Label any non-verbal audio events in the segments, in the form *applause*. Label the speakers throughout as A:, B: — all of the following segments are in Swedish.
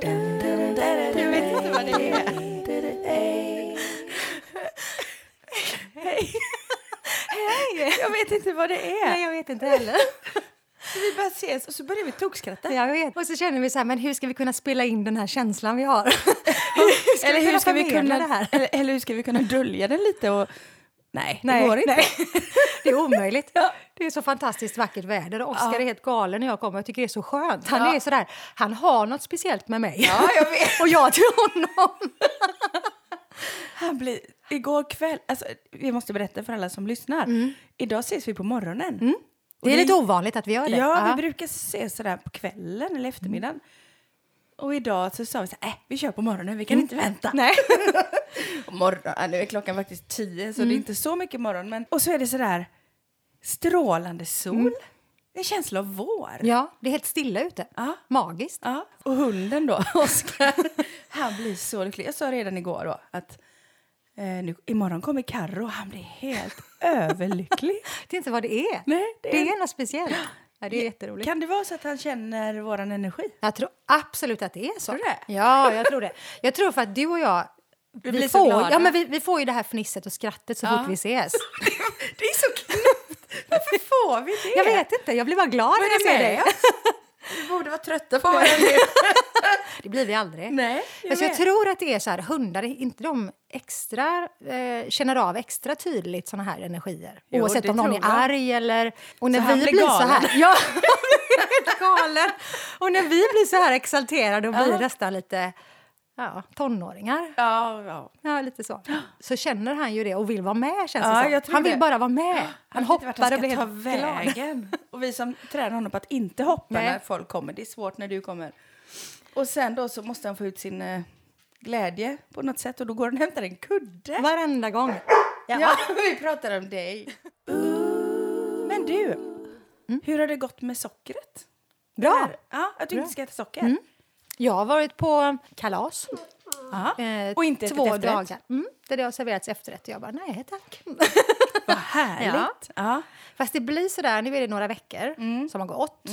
A: Jag vet inte vad det är.
B: Hej!
A: Jag vet inte vad det är.
B: Nej, jag vet
A: *laughs*
B: inte heller.
A: Vi bara ses och så börjar vi tokskratta.
B: Jag vet. Och så känner vi så här, men hur ska vi kunna spela in den här känslan vi har? *laughs*
A: Eller hur ska vi kunna
B: förmedla det här?
A: Eller, eller hur ska vi kunna dölja den lite och... Nej,
B: Nej,
A: det går inte. *laughs*
B: nej. Det är omöjligt. Det är så fantastiskt vackert väder. och Oskar är helt galen när jag kommer. Jag tycker det är så skönt. Han är sådär, han har något speciellt med mig.
A: Ja, jag vet.
B: *laughs* Och jag till honom.
A: Han blir, igår kväll, alltså, vi måste berätta för alla som lyssnar. Idag ses vi på morgonen.
B: Det är lite ovanligt att vi gör det.
A: Ja, Mm.
B: Ja.
A: vi brukar ses sådär på kvällen eller eftermiddagen. Och idag så sa vi så här, äh, vi kör på morgonen, vi kan inte vänta.
B: Nej.
A: Och morgon, äh, nu är klockan faktiskt tio så det är inte så mycket morgon. Men, Mm. Mm. och så är det sådär strålande sol. En känsla av vår.
B: *laughs* ja, det är helt stilla ute.
A: Ja.
B: Magiskt.
A: Ja, och hunden då, *laughs* Oskar, han blir så lycklig. Jag sa redan igår då att eh, nu, imorgon kommer Karro och han blir *laughs* helt överlycklig.
B: Det är inte vad det är.
A: Nej, det
B: det,
A: är-
B: är...
A: *gasps*
B: något speciellt. Ja, det är jätteroligt.
A: Kan det vara så att han känner våran energi?
B: Jag tror absolut att det är så.
A: Tror du det?
B: Ja, jag tror det. Jag tror för att du och jag... Vi,
A: blir så
B: får,
A: glada.
B: ja, men vi, vi får ju det här fnisset och skrattet så
A: Ja.
B: fort vi ses.
A: *laughs* Det är så knäppt! Varför får vi det?
B: Jag vet inte, jag blir bara glad
A: Vad
B: när jag
A: är det
B: ser
A: med
B: dig.
A: dig? *laughs* Vi borde vara trötta på varandra nu.
B: Det blir vi aldrig.
A: Nej, jag
B: jag, alltså, jag
A: vet.
B: tror att det är så här, hundar, är inte de extra, eh, känner av extra tydligt såna här energier?
A: Jo,
B: Oavsett
A: det
B: om någon är
A: tror jag.
B: arg eller... Och när
A: Så
B: vi
A: han blir
B: så
A: galen.
B: här, Ja, *laughs* han blir helt galen. Och när vi blir så här exalterade och blir
A: Ja.
B: nästan lite ja, tonåringar,
A: Ja, ja.
B: Ja, lite så. Så känner han ju det och vill vara med känns
A: Ja,
B: det som.
A: jag tror
B: Han vill
A: det.
B: bara vara med. Han
A: vet inte vart
B: hoppar och blir
A: ska ta
B: helt glad.
A: vägen. Och vi som tränar honom på att inte hoppa
B: Nej.
A: när folk kommer. Det är svårt när du kommer. Och sen då så måste han få ut sin eh, glädje på något sätt och då går han och hämtar en kudde.
B: Varenda gång.
A: Ja, *laughs* vi pratar om dig. Men du, hur har det gått med sockret?
B: Mm. Bra! Mm.
A: Ja, att du inte ska äta socker?
B: Jag har varit på kalas.
A: Ja.
B: eh,
A: Och inte ätit
B: Två
A: efterrätt?
B: dagar. Mm, där det har serverats efterrätt. Jag bara, nej tack.
A: *laughs* Vad härligt. Ja.
B: Fast det blir sådär, nu är det några veckor
A: Mm.
B: som har gått.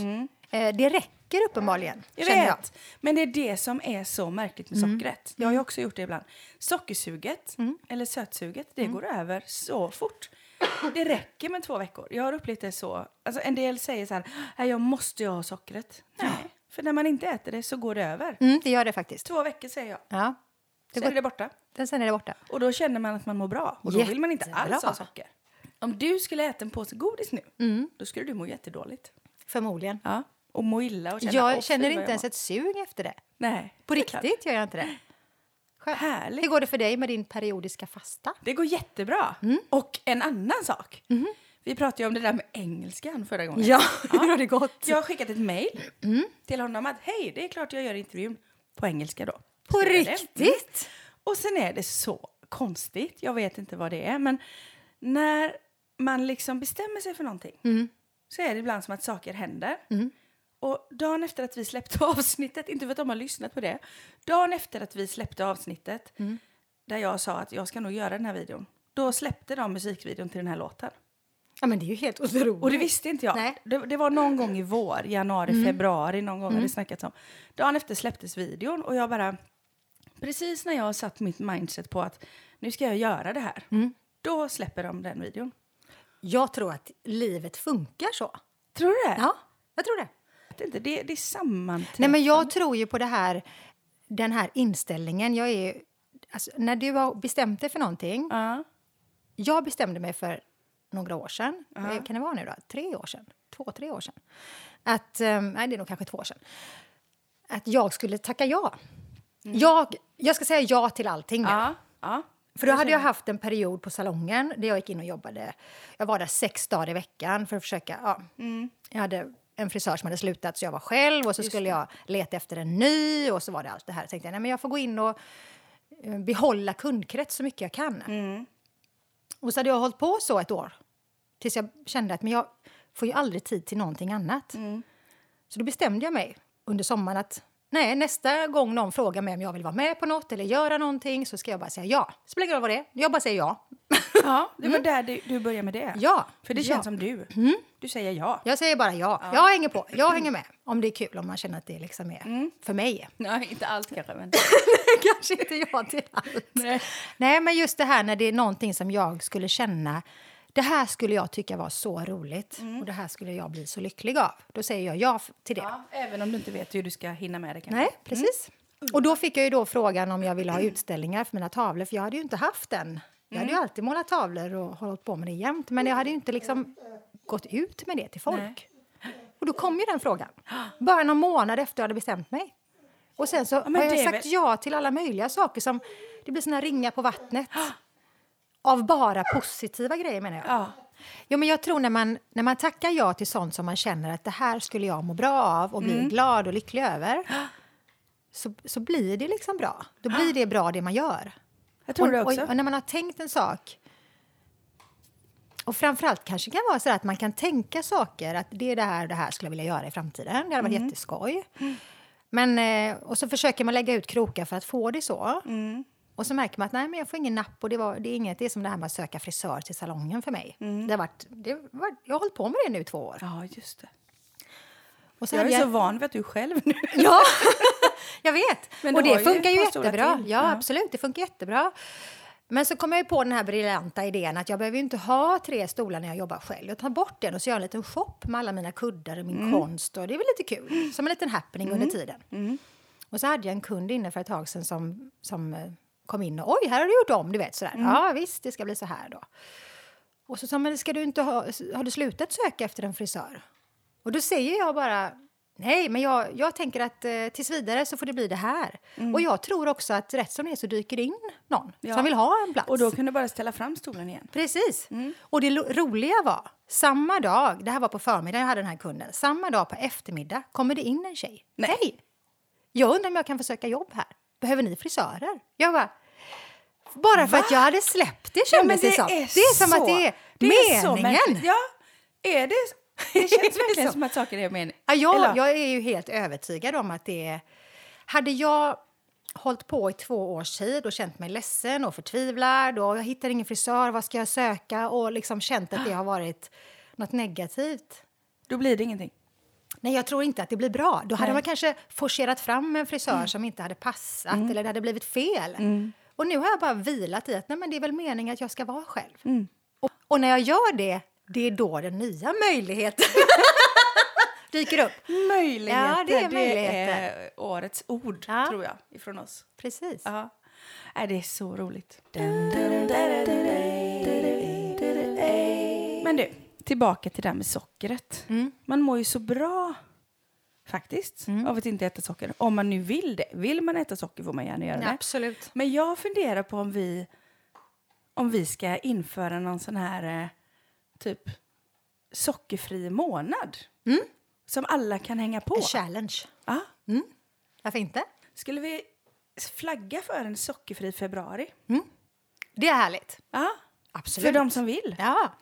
B: Eh, det räcker uppenbarligen,
A: Jag
B: känner
A: vet.
B: jag. Mm.
A: Men det är det som är så märkligt med sockret. Jag har ju också gjort det ibland. Sockersuget, eller sötsuget,
B: Mm.
A: det går över så fort. Det räcker med två veckor. Jag har upplevt det så. Alltså, en del säger så här, "Nej, jag måste ju ha sockret. Nej, för när man inte äter det så går det över.
B: Mm, det gör det faktiskt.
A: Två veckor säger jag,
B: Ja. Det
A: sen är
B: går,
A: det borta.
B: den sen är det borta.
A: Och då känner man att man mår bra. Och då vill man inte alls
B: Jättebra.
A: ha socker. Om du skulle äta en påse godis nu,
B: Mm.
A: då skulle du må jättedåligt.
B: Förmodligen.
A: Ja. Och må illa och känna, "Åh, fy,
B: Jag känner
A: vad jag
B: inte ens
A: mår."
B: ett sug efter det.
A: Nej.
B: På
A: det är klart.
B: riktigt gör jag inte det. Skönt.
A: Härligt.
B: Hur går det för dig med din periodiska fasta?
A: Det går jättebra.
B: Mm.
A: Och en annan sak.
B: Mm-hmm.
A: Vi pratade ju om det där med engelskan förra
B: *laughs*
A: gången.
B: hur har det gått?
A: Jag har skickat ett mejl
B: Mm.
A: till honom att hej, det är klart jag gör intervjun på engelska då.
B: På
A: Så är det. Mm.
B: riktigt?
A: Och sen är det så konstigt, jag vet inte vad det är, men när man liksom bestämmer sig för någonting så är det ibland som att saker händer. Och dagen efter att vi släppte *laughs* avsnittet, inte för att de har lyssnat på det, dagen efter att vi släppte avsnittet där jag sa att jag ska nog göra den här videon, då släppte de musikvideon till den här låten.
B: Ja, men det är ju helt otroligt.
A: Och det visste inte jag.
B: Nej. Mm.
A: Det, det var någon gång i vår, januari, februari, någon gång har det snackats om. Dagen efter släpptes videon och jag bara, precis när jag har satt mitt mindset på att nu ska jag göra det här,
B: Mm.
A: då släpper de den videon.
B: Jag tror att livet funkar så.
A: Tror du det?
B: Ja, jag tror det.
A: Jag vet inte, Det, det är typ. sammanträffande.
B: Nej, men jag tror ju på det här, den här inställningen. Jag är, ju- alltså, när du har bestämt dig för någonting.
A: Ja.
B: Jag bestämde mig för några år sedan, Eh, kan det vara nu då? Tre år sedan? Två, tre år sedan. Att, eh, nej, det är nog kanske två år sedan. Att jag skulle tacka ja. Jag, jag ska säga ja till allting nu.
A: Ja. ja.
B: För då hade jag haft en period på salongen där jag gick in och jobbade. Jag var där sex dagar i veckan för att försöka... Ja. Jag hade en frisör som hade slutat så jag var själv och så skulle jag leta efter en ny och så var det allt det här. Så tänkte jag, nej men jag får gå in och eh, behålla kundkrets så mycket jag kan. Och så hade jag hållit på så ett år. Tills jag kände att men jag får ju aldrig tid till någonting annat. Så då bestämde jag mig under sommaren att Nej, nästa gång någon frågar mig om jag vill vara med på något eller göra någonting så ska jag bara säga ja. Spelar ingen roll vad det är. Jag bara säger ja. Mm.
A: Ja, det var där du, du började med det.
B: Ja.
A: För det
B: Ja. Mm.
A: känns som du. Du säger ja.
B: Jag säger bara ja. Jag hänger på. Jag hänger med. Om det är kul, om man känner att det liksom är för *laughs* mig.
A: Nej, inte allt kanske, men...
B: Kanske inte jag till allt.
A: Nej.
B: Nej, men just det här när det är någonting som jag skulle känna det här skulle jag tycka var så roligt och det här skulle jag bli så lycklig av. Då säger jag ja f- till det.
A: Ja, även om du inte vet hur du ska hinna med det kanske.
B: Nej, precis. Och då fick jag ju då frågan om jag ville ha utställningar för mina tavlor, för jag hade ju inte haft den. Jag
A: Mm.
B: hade ju alltid målat tavlor och hållit på med det jämt, men jag hade ju inte liksom gått ut med det till folk.
A: Nej.
B: Och då kom ju den frågan, bara någon månad efter jag hade bestämt mig. Och sen så
A: men
B: har jag
A: det är
B: sagt
A: väl-
B: ja till alla möjliga saker som, det blir såna ringar på vattnet. Av bara positiva grejer menar jag.
A: Ja.
B: Jo, men jag tror när man, när man tackar ja till sånt som man känner att det här skulle jag må bra av och bli glad och lycklig över så, så blir det liksom bra. Då blir det bra det man gör.
A: Jag tror
B: och,
A: det också.
B: Och, och när man har tänkt en sak och framförallt kanske kan vara så att man kan tänka saker att det är det här och det här skulle jag vilja göra i framtiden. Det hade varit
A: Mm.
B: jätteskoj. Men, eh, och så försöker man lägga ut krokar för att få det så.
A: Mm.
B: Och så märker man att nej, men jag får ingen napp och det, var, det är inget. Det är som det här med att söka frisör till salongen för mig.
A: Mm.
B: Det har varit, det var, jag har hållit på med det nu i två år.
A: Ja, just det.
B: Och så
A: Jag
B: hade
A: är så van vid att du själv nu... *laughs*
B: Ja, jag vet.
A: Men
B: och
A: du har
B: det
A: ju
B: funkar ju
A: ett par stora
B: jättebra.
A: till.
B: Ja,
A: Ja.
B: absolut, det funkar jättebra. Men så kom jag ju på den här briljanta idén att jag behöver ju inte ha tre stolar när jag jobbar själv. Jag tar bort den och så gör jag en liten shop med alla mina kuddar och min
A: Mm.
B: konst. Och det är väl lite kul, som en liten happening under tiden.
A: Mm.
B: Och så hade jag en kund inne för ett tag sedan som, som eh, kom in och oj, här har du gjort om, du vet sådär.
A: Mm.
B: Ja, visst, det ska bli så här då. Och så sa han, men ska du inte ha, har du slutat söka efter en frisör? Och då säger jag bara, nej, men jag, jag tänker att eh, tills vidare så får det bli det här. Och jag tror också att rätt som det är så dyker det in någon
A: Mm. Ja.
B: som vill ha en plats.
A: Och då Mm. kan du bara ställa fram stolen igen.
B: Precis. Och det lo- roliga var, samma dag, det här var på förmiddagen jag hade den här kunden, samma dag på eftermiddag kommer det in en tjej.
A: Nej.
B: Hej! Jag undrar om jag kan få söka jobb här. Behöver ni frisörer? Jag bara, bara för att jag hade släppt det kändes det, som. det är som
A: så-
B: att det är
A: det är så
B: meningen.
A: märkligt. ja, är det... Det
B: Är
A: känns
B: *laughs* det
A: verkligen
B: så?
A: som att saker är meningen.
B: Ja, jag,
A: Eller-
B: jag är ju helt övertygad om att det är... Hade jag hållit på i två års tid och känt mig ledsen och förtvivlad och jag hittar ingen frisör, vad ska jag söka? Och liksom känt att det har varit något negativt.
A: Då blir det ingenting.
B: Nej, jag tror inte att det blir bra. Då hade
A: Nej. Mm.
B: man kanske forcerat fram en frisör som inte hade passat eller det hade blivit fel. Och nu har jag bara vilat i att nej, men det är väl meningen att jag ska vara själv.
A: Mm.
B: Och, och när jag gör det, det är då den nya
A: *laughs*
B: möjligheten dyker upp.
A: Möjligheter.
B: Ja, det är
A: är
B: möjligheter.
A: årets ord,
B: Ja.
A: tror jag, ifrån oss.
B: Precis.
A: Ja. Nej, det är så roligt. Men du, tillbaka till det här med sockret. Man mår ju så bra faktiskt av att inte äta socker. Om man nu vill det. Vill man äta socker får man gärna göra det.
B: Absolut.
A: Men jag funderar på om vi, om vi ska införa någon sån här eh, typ sockerfri månad. Som alla kan hänga på.
B: En challenge.
A: Ja.
B: Varför inte?
A: Skulle vi flagga för en sockerfri februari?
B: Det är härligt.
A: Ja,
B: Absolut.
A: för de som vill.
B: Ja.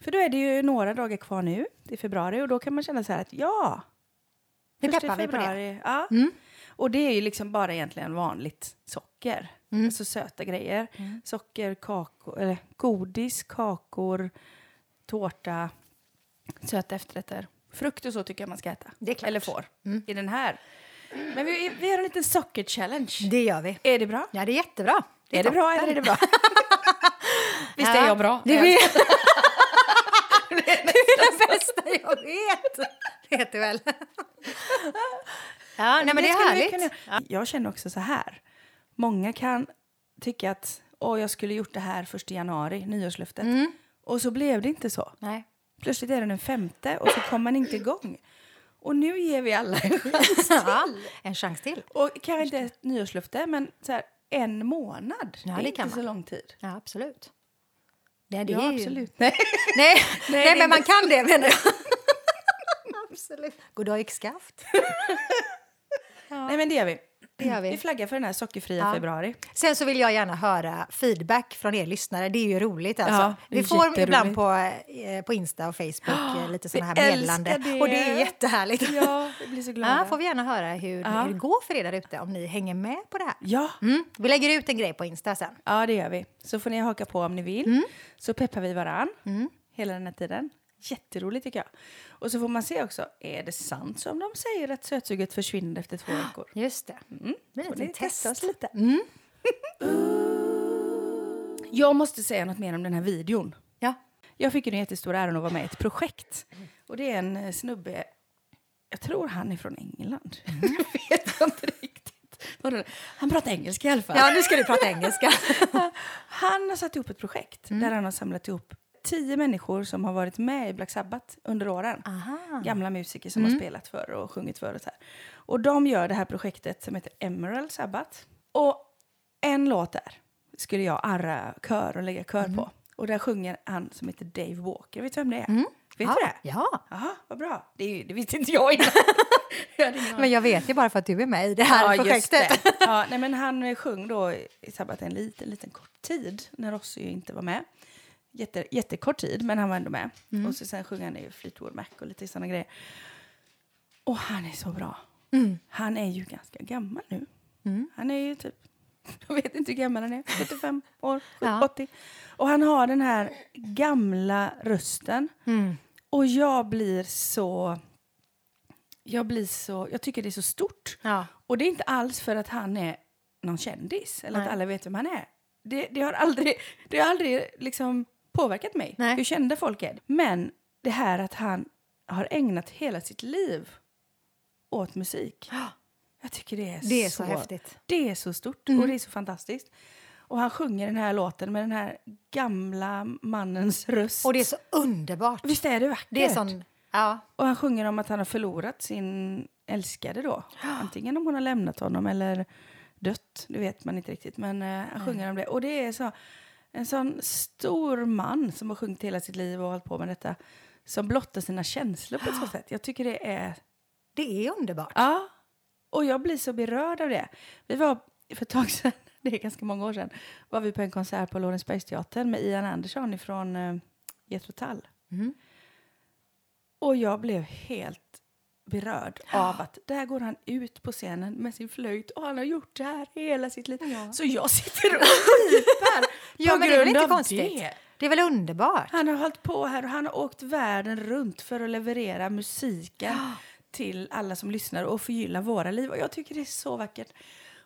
A: För då är det ju några dagar kvar nu i februari och då kan man känna så här att ja,
B: Nu
A: första
B: peppar vi på det. Mm.
A: februari, Ja. Och det är ju liksom bara egentligen vanligt socker,
B: Mm.
A: alltså söta grejer. Socker, kakor, eller godis, kakor, tårta, söta efterrätter. Frukt och så tycker jag man ska äta.
B: Det är klart. Mm.
A: Eller får, i den här. Men vi, vi gör en liten socker-challenge.
B: Det gör vi.
A: Är det bra?
B: Ja, det är jättebra.
A: är det bra eller
B: toppen.
A: är det
B: *laughs*
A: bra? Visst
B: Ja,
A: är jag bra?
B: Det, vet. *laughs* det är det bästa jag vet. Det heter väl. Ja, nej, men det, är
A: skulle vi
B: härligt.
A: kunna- Jag känner också så här. Många kan tycka att Åh, jag skulle gjort det här första januari, nyårslöftet.
B: Mm.
A: Och så blev det inte så.
B: Nej.
A: Plötsligt är det den femte och så kommer man inte igång. Och nu ger vi alla en
B: *laughs*
A: chans.
B: Ja, en chans till.
A: Och kanske inte ett nyårslöfte, men så här, en månad.
B: Ja,
A: det är
B: det
A: inte
B: kan
A: så
B: man.
A: lång tid.
B: Ja, absolut. Nej, det
A: Ja,
B: är ju-
A: absolut. Nej.
B: *laughs* Nej,
A: Nej,
B: nej,
A: det är
B: men man kan det menar
A: *laughs*
B: jag. absolut. Goddag yxskaft.
A: Nej, men det gör vi.
B: det gör
A: Vi
B: vi.
A: flaggar för den här sockerfria
B: Ja. *laughs*
A: februari.
B: Sen så vill jag gärna höra feedback från er lyssnare. Det är ju roligt alltså.
A: Ja, det är
B: vi får ibland
A: jätteroligt.
B: på, eh, på Insta och Facebook eh, lite sådana
A: *gasps*
B: här
A: vi älskar
B: meddelande.
A: det.
B: Och det
A: *laughs*
B: är jättehärligt.
A: Ja, vi blir så glada.
B: Ja, får vi gärna höra hur,
A: Ja.
B: hur det går för er där ute, om ni hänger med på det här.
A: Ja.
B: Mm. Vi lägger ut en grej på Insta sen.
A: Ja, det gör vi. Så får ni haka på om ni vill.
B: Mm.
A: Så peppar vi varann hela den här tiden. Jätteroligt tycker jag. Och så får man se också, är det sant som de säger att sötsuget försvinner efter två veckor?
B: Just det. Mm. Det
A: Får
B: blir
A: ni
B: lite test. Mm.
A: testa oss lite? *laughs* jag måste säga något mer om den här videon.
B: Ja.
A: Jag fick ju den jättestora äran att vara med i ett projekt. Och det är en eh, snubbe, jag tror han är från England. *laughs* jag vet inte riktigt. Vad det- Han pratar engelska i alla fall.
B: ja, nu ska du
A: *laughs*
B: prata engelska.
A: Han har satt ihop ett projekt
B: Mm.
A: där han har samlat ihop tio människor som har varit med i Black Sabbath under åren.
B: Aha. Mm.
A: Gamla musiker som har spelat för och sjungit för och så här. Och de gör det här projektet som heter Emerald Sabbath. Och en låt där skulle jag arra kör och lägga kör
B: Mm.
A: på. Och där sjunger han som heter Dave Walker. Vet du vem det är? Vet du
B: ja.
A: det?
B: Ja,
A: Jaha, vad bra. Det, är ju, det visste inte
B: *laughs*
A: jag innan. jag hade ingen aning.
B: men jag vet ju bara för att du är med i det här
A: just
B: projektet.
A: det.
B: *laughs*
A: Ja, nej, men han eh, sjöng då i Sabbat en liten, liten kort tid när Rossi ju inte var med. Jätte, jättekort tid, men han var ändå med.
B: Mm.
A: Och så, sen sjöng han ju Fleetwood Mac och lite sådana grejer. Och han är så bra.
B: Mm.
A: Han är ju ganska gammal nu. Han är ju typ, *laughs* jag vet inte hur gammal han är, 75 år,
B: Ja.
A: 80. Och han har den här gamla rösten.
B: Mm.
A: Och jag blir så... Jag blir så... Jag tycker det är så stort.
B: Ja.
A: Och det är inte alls för att han är någon kändis eller
B: Nej.
A: att alla vet vem han är. Det, det har aldrig, det har aldrig liksom påverkat mig
B: Nej.
A: hur kända folk är. Men det här att han har ägnat hela sitt liv åt musik. Jag tycker det är,
B: Det är så häftigt. Mm.
A: Det är så stort och det är så fantastiskt. Och han sjunger den här låten med den här gamla mannens röst.
B: Och det är så underbart.
A: Visst är det vackert?
B: Det är sån... Ja.
A: Och han sjunger om att han har förlorat sin älskade då. Antingen om hon har lämnat honom eller dött, det vet man inte riktigt. Men eh, han sjunger om det. Och det är så, en sån stor man som har sjungit hela sitt liv och hållit på med detta. Som blottar sina känslor på ett sånt sätt. Jag tycker det är...
B: Det är underbart.
A: Ja. Och jag blir så berörd av det. Vi var för ett tag sedan, *laughs* det är ganska många år sedan, var vi på en konsert på Lorensbergsteatern med Ian Andersson från eh, Jethro Tull.
B: Mm.
A: Och jag blev helt berörd av att där går han ut på scenen med sin flöjt och han har gjort det här hela sitt liv. Så jag sitter och pipar
B: *laughs* Ja,
A: på
B: men det är väl
A: grund
B: inte
A: av
B: konstigt?
A: det.
B: Det är väl underbart?
A: Han har hållit på här och han har åkt världen runt för att leverera musiken till alla som lyssnar och förgylla våra liv. Och jag tycker det är så vackert.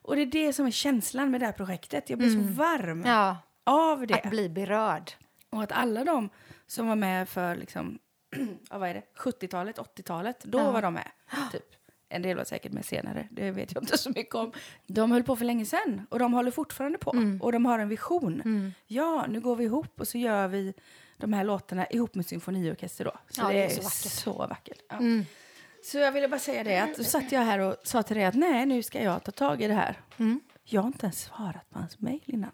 A: Och det är det som är känslan med det här projektet. Jag blir så varm
B: Mm. Ja.
A: av det.
B: Att bli berörd.
A: Och att alla de som var med för liksom, *clears throat* ja, vad är det, 70-talet, 80-talet, då var de med. Typ. En del var säkert med senare, det vet jag inte så mycket om. De höll på för länge sedan och de håller fortfarande på. Och de har en vision. Ja, nu går vi ihop och så gör vi de här låtarna ihop med symfoniorkester då. Så
B: Ja,
A: det, är så vackert. Mm. Ja. Så jag ville bara säga det att då satt jag här och sa till dig att nej, nu ska jag ta tag i det här. Jag har inte ens svarat på hans mejl innan.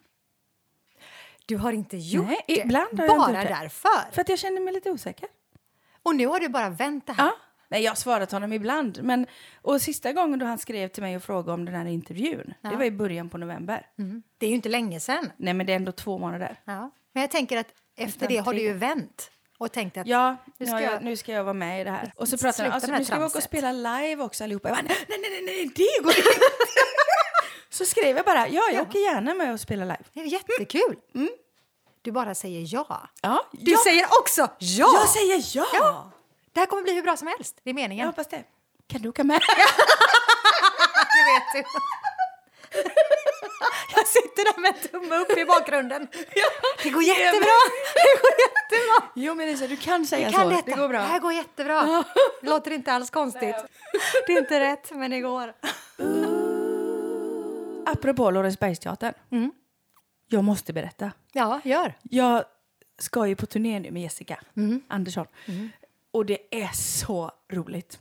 B: Du har inte gjort
A: Nej,
B: det.
A: ibland har jag
B: bara
A: inte gjort det.
B: därför.
A: För att jag känner mig lite osäker.
B: Och nu har du bara vänt det här.
A: Ja. Nej, jag har svarat honom ibland. Men, och sista gången då han skrev till mig och frågade om den här intervjun, det var i början på november.
B: Mm. Det är ju inte länge sen.
A: Nej, men det är ändå två månader.
B: Ja. Men jag tänker att efter
A: Nästan
B: det har du
A: tre.
B: ju vänt och tänkt att
A: Ja,
B: Nu
A: nu
B: ska
A: ska,
B: jag-
A: jag, nu ska jag vara med i det här. Och så pratade han,
B: Sluta
A: alltså,
B: med det här
A: nu ska vi åka och
B: tramset."
A: spela live också allihopa. Jag bara, nej, nej, nej, nej, det går inte. *laughs* så skrev jag bara, ja, jag åker gärna med och spela live.
B: det är jättekul. Du bara säger ja.
A: Ja,
B: Mm. Du
A: ja.
B: säger också ja!
A: jag säger ja.
B: ja! Det här kommer bli hur bra som helst. Det är
A: Jag
B: meningen.
A: hoppas det. Kan du åka med?
B: Det vet du. Jag sitter där med en tumme upp i bakgrunden. *laughs* Det går jättebra! *laughs* Det går jättebra!
A: *laughs* Jo, men Lisa, du kan säga
B: Jag kan
A: så.
B: detta.
A: Alltså, Det går bra.
B: Det här går jättebra. Det låter inte alls konstigt. Det är inte rätt, men det går.
A: Apropå Lorensbergsteatern.
B: Mm.
A: Jag måste berätta.
B: Ja, gör.
A: Jag ska ju på turné nu med Jessica
B: Mm.
A: Andersson. Och det är så roligt.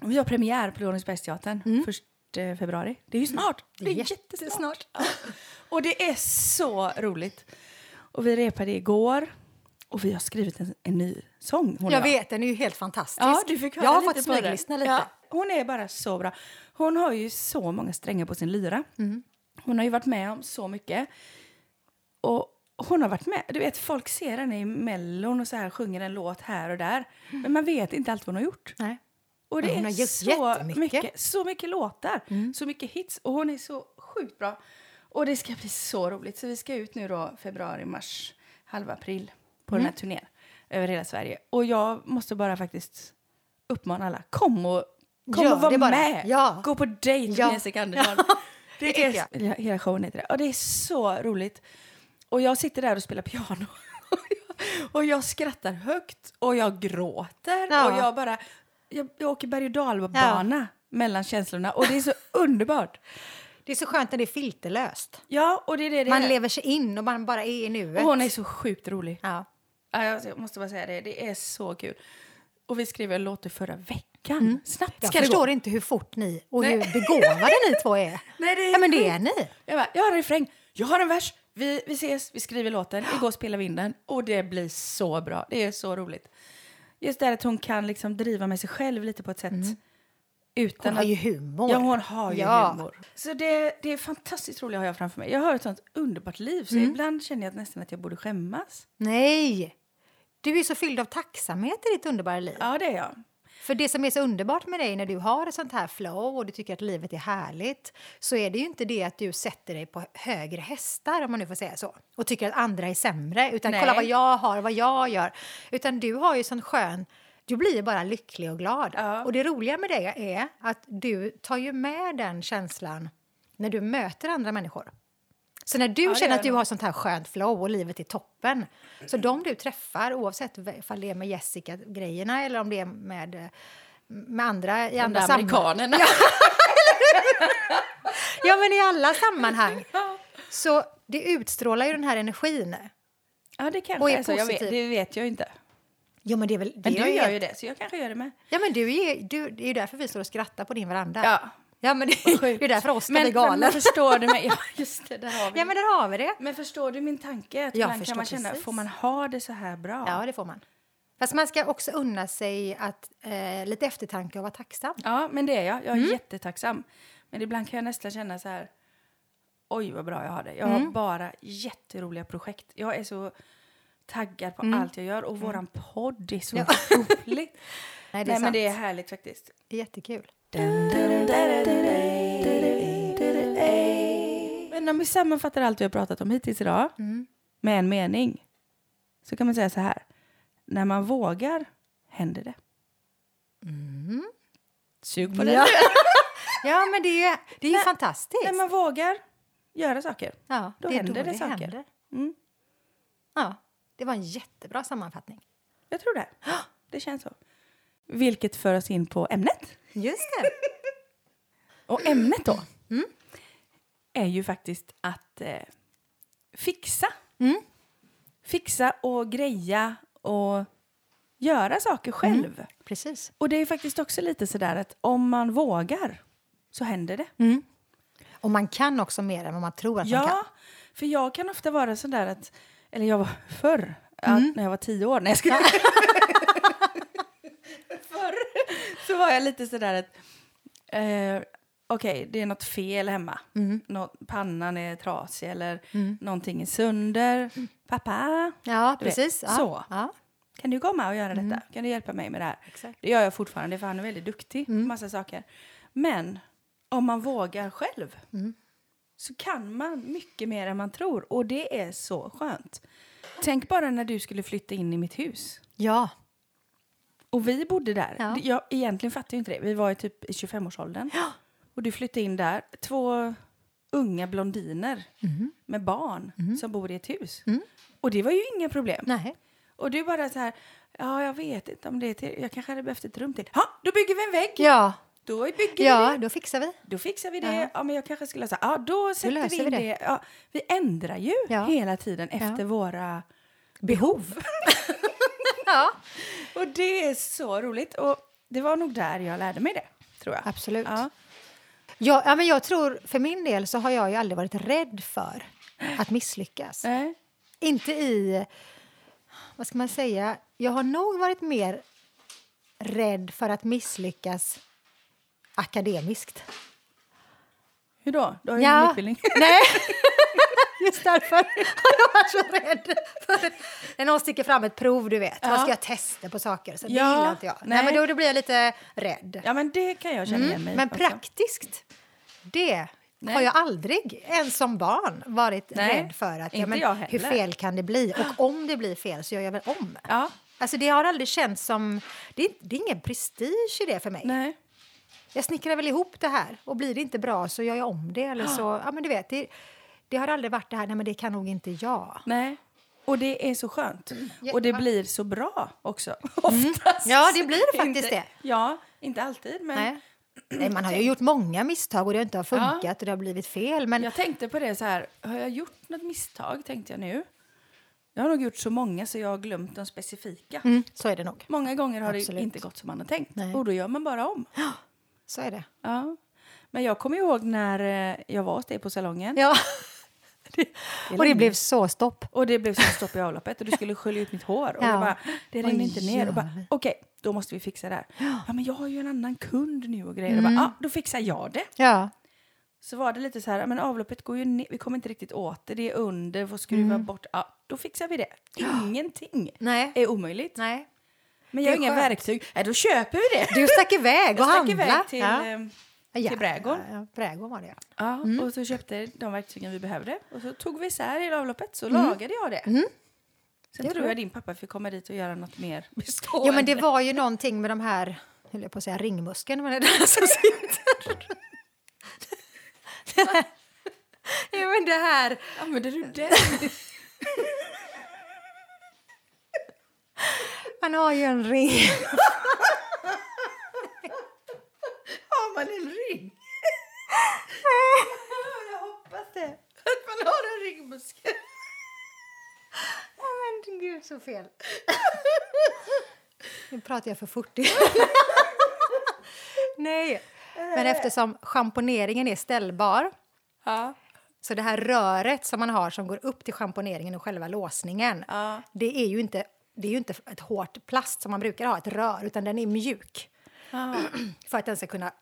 A: Vi har premiär på Lorensbergsteatern
B: Mm.
A: 1 eh, februari. Det är ju snart. Det är jättesnart. Och det är så roligt. Och vi repade igår. Och vi har skrivit en, en ny sång. hon och
B: Jag vet, den är ju helt fantastisk.
A: Ja, du fick höra
B: jag har
A: lite
B: fått
A: på den.
B: smyglyssna lite.
A: Ja, hon är bara så bra. Hon har ju så många strängar på sin lyra.
B: Mm.
A: Hon har ju varit med om så mycket. Och hon har varit med. Du vet, folk ser henne i Mellon och så här sjunger en låt här och där.
B: Mm.
A: Men man vet inte alltid vad hon har gjort.
B: Nej.
A: Och det
B: Men hon
A: är
B: har gjort
A: så
B: jättemycket. Mm.
A: mycket, så mycket låtar, så mycket hits. Och hon är så sjukt bra. Och det ska bli så roligt. Så vi ska ut nu då februari, mars, halva april på
B: Mm.
A: den här turnén över hela Sverige. Och jag måste bara faktiskt uppmana alla, kom och, kom
B: Gör
A: och var
B: det bara.
A: med!
B: Ja.
A: Gå på dejt med
B: Ja. *laughs*
A: Jessica Andersson. Det
B: tycker
A: är, hela- hela showen heter det. Och det är så roligt. Och jag sitter där och spelar piano. *laughs* Och jag- och jag skrattar högt och jag gråter.
B: Ja.
A: Och jag bara... Jag, jag åker berg och dalbana mellan känslorna. Och det är
B: *laughs*
A: så underbart.
B: Det är så skönt när det är filterlöst.
A: Ja, och det är det det
B: Man
A: är.
B: lever sig in och man bara är i
A: Och
B: nuet.
A: hon är så sjukt rolig.
B: Ja.
A: Ja, jag jag måste bara säga det. Det är så kul. Och vi skrev en låt i förra veckan. Snabbt
B: Mm. Jag
A: ska det gå.
B: förstår inte hur fort ni och hur begåvade ni två är.
A: *laughs* Nej, det är
B: ja, men det
A: sjukt.
B: är ni.
A: Jag, bara, jag har en refräng, jag har en vers, vi, vi ses, vi skriver låten, igår spelar vi in den och det blir så bra. Det är så roligt. Just det här att hon kan liksom driva med sig själv lite på ett sätt. Utan
B: Mm. Hon har
A: att-
B: ju humor.
A: Ja, hon har ju
B: Ja.
A: humor. Så det, det är fantastiskt roligt har jag framför mig. Jag har ett sånt underbart liv så ibland känner jag att nästan att jag borde skämmas.
B: Nej! Du är så fylld av tacksamhet i ditt underbara liv.
A: Ja, det är jag.
B: För det som är så underbart med dig när du har ett sånt här flow och du tycker att livet är härligt så är det ju inte det att du sätter dig på högre hästar om man nu får säga så och tycker att andra är sämre utan
A: Nej.
B: kolla vad jag har, vad jag gör. Utan du har ju sån skön du blir ju bara lycklig och glad.
A: Ja.
B: Och det roliga med det är att du tar ju med den känslan när du möter andra människor. Så när du
A: det gör
B: känner att du
A: jag.
B: har sånt här skönt flow och livet är toppen, så de du träffar, oavsett om det är med Jessica-grejerna eller om det är med, eh, med andra i andra sammanhang,
A: amerikanerna.
B: ja men i
A: *laughs*
B: alla sammanhang, så det utstrålar ju den här energin.
A: Ja, det kanske
B: Och är
A: är så. Jag vet,
B: positiv.
A: det vet jag ju inte.
B: Jo men det är väl... Det
A: Men
B: är
A: du gör
B: helt-
A: ju det, så jag kanske gör det med.
B: Ja men du är, du, det är ju därför vi står och skrattar på din veranda.
A: Ja.
B: Ja, men det,
A: Sjukt.
B: det är därför Oskar
A: Men-
B: blir galen.
A: Men förstår du *laughs* mig? Ja, just det, där har vi
B: Ja men där har vi det.
A: Men förstår du min tanke? Att
B: Jag
A: ibland
B: förstår
A: kan man känna,
B: precis.
A: får man ha det så här bra?
B: Ja, det får man. Fast man ska också unna sig att, eh, lite eftertanke och vara tacksam.
A: Ja, men det är jag. Jag är jättetacksam. Men ibland kan jag nästan känna så här, oj vad bra jag har det. Jag har bara jätteroliga projekt. Jag är så taggad på allt jag gör och våran podd är så roligt.
B: Nej, det
A: Nej,
B: är
A: men
B: sant.
A: det är härligt faktiskt.
B: Det är jättekul.
A: Men om vi sammanfattar allt vi har pratat om hittills idag med en mening så kan man säga så här. När man vågar händer det. Sug på det.
B: Ja. ja, men det är, det är ju fantastiskt.
A: När man vågar göra saker.
B: ja,
A: då
B: det är
A: händer det saker. Mm.
B: Ja, det var en jättebra sammanfattning.
A: Jag tror det. *gasps* Det känns så. Vilket för oss in på ämnet.
B: Just det.
A: Och ämnet då är ju faktiskt att eh, fixa. Fixa och greja och göra saker själv.
B: Precis.
A: Och det är faktiskt också lite sådär att om man vågar så händer det.
B: Och man kan också mer än vad man tror att man kan.
A: Ja, för jag kan ofta vara sådär att, eller jag var förr,
B: Mm.
A: att när jag var tio år, när jag
B: *laughs*
A: skulle... förr så var jag lite sådär att, eh, okej, det är något fel hemma.
B: Mm.
A: Nå- pannan är trasig eller någonting är sönder.
B: Mm.
A: Pappa,
B: Ja,
A: du vet,
B: precis. Ja.
A: Så.
B: Ja.
A: Kan du komma och göra detta?
B: Mm.
A: Kan du hjälpa mig med det här?
B: Exakt.
A: Det gör jag fortfarande för han är väldigt duktig
B: Mm.
A: på massa saker. Men om man vågar själv
B: Mm.
A: så kan man mycket mer än man tror och det är så skönt. Tänk bara när du skulle flytta in i mitt hus
B: ja.
A: och vi bodde där.
B: Ja.
A: Det- Jag egentligen fattar ju inte det. Vi var ju typ i 25-årsåldern och du flyttade in där. Två unga blondiner
B: Mm.
A: med barn som bor i ett hus. Och det var ju inga problem.
B: Nej.
A: Och du bara så här, ja jag vet inte om det är till, jag kanske hade behövt ett rum till. Ja, då bygger vi en vägg!
B: Ja.
A: Då bygger vi det,
B: ja, då fixar vi.
A: då fixar vi det. Ja, men jag kanske skulle säga, ja då sätter
B: löser
A: vi in
B: vi
A: det.
B: det."
A: Ja, vi ändrar ju
B: Ja.
A: hela tiden efter våra
B: Behov. *laughs* ja,
A: *laughs* Och det är så roligt. Och det var nog där jag lärde mig det, tror jag.
B: absolut.
A: Ja.
B: Ja, ja, men jag tror, för min del så har jag ju aldrig varit rädd för att misslyckas.
A: Nej.
B: Inte i... vad ska man säga? Jag har nog varit mer rädd för att misslyckas
A: *laughs*
B: akademiskt.
A: Hur då? Du har ju
B: Ja.
A: ingen utbildning. *laughs*
B: Nej, *laughs* just därför har jag varit så rädd. För när någon sticker fram ett prov, du vet. Vad ska jag testa på saker? Så det
A: Ja,
B: gillar inte jag. Nej.
A: nej.
B: men då, då blir jag lite rädd.
A: Ja, men det kan jag känna igen mig
B: Mm. Men
A: också.
B: praktiskt, det har jag aldrig, ens som barn, varit
A: Nej,
B: rädd för. att
A: inte
B: men,
A: jag
B: Hur
A: heller.
B: fel kan det bli? Och om det blir fel så gör jag väl om.
A: Ja,
B: Alltså det har aldrig känts som... Det är, det är ingen prestige i det för mig.
A: nej.
B: Jag snickrar väl ihop det här och blir det inte bra så gör jag om det. Eller så,
A: *gasps*
B: ja, men du vet, det, det har aldrig varit det här, nej men det kan nog inte jag.
A: Nej. Och det är så skönt.
B: Ja.
A: Och det blir så bra också. *laughs* Oftast.
B: Mm. Ja, det blir det faktiskt
A: inte,
B: det.
A: Ja, inte alltid. Men
B: Nej. Nej, man har ju gjort många misstag och det har inte har funkat och det har blivit fel. Men
A: jag tänkte på det så här. Har jag gjort något misstag, tänkte jag nu. Jag har nog gjort så många så jag har glömt de specifika.
B: mm, så är det nog.
A: Många gånger har
B: Absolut.
A: det inte gått som man har tänkt.
B: Nej.
A: Och då gör man bara
B: *gasps*
A: om.
B: Så är det.
A: Ja. Men jag kommer ihåg när eh, jag var hos dig på salongen.
B: Ja. och *laughs* det blev så stopp.
A: Och det blev så stopp i avloppet och du skulle skölja ut mitt hår. Och
B: *laughs* Ja.
A: jag bara, det
B: Vad
A: rinner inte ner. Och bara,
B: gör vi?
A: okej, då måste vi fixa det här. Ja, men jag har ju en annan kund nu och
B: Mm.
A: grejer. Och bara, ah, då fixar jag det.
B: Ja.
A: Så var det lite så här, "Ja, men avloppet går ju ner, vi kommer inte riktigt åt det, det är under, får skruva
B: Mm.
A: bort. Ja, då fixar vi det. Ingenting
B: Nej.
A: är omöjligt.
B: Nej.
A: Men jag
B: det
A: har
B: är
A: inga
B: skönt.
A: verktyg, Nej, då köper vi det.
B: Du stack iväg och
A: Jag stack
B: handlade.
A: iväg till,
B: ja. Mm.
A: eh,
B: Ja,
A: till Brädgården.
B: Ja, ja, Brädgården var det, ja.
A: Ja, och så köpte de verktygen vi behövde. Och så tog vi isär hela avloppet, så
B: Mm.
A: lagade jag det. Sen tror jag din pappa fick komma dit och göra något mer bestående.
B: Jo, men det var ju någonting med de här, höll jag på att säga ringmuskeln, men det där *laughs* som sitter. *laughs* Jo, men det här...
A: Använder du den?
B: Man har ju en ring.
A: Har man en ring? *laughs* jag hoppas det. Att man har en ringmuskel.
B: Ja, men gud, så fel. Nu pratar jag för 40. *laughs* Nej. Men eftersom schamponeringen är ställbar
A: *laughs* Ja.
B: så det här röret som man har som går upp till schamponeringen och själva låsningen
A: Ja.
B: det är ju inte det är ju inte ett hårt plast som man brukar ha, ett rör, utan den är mjuk
A: ja.
B: *clears throat* för att den ska kunna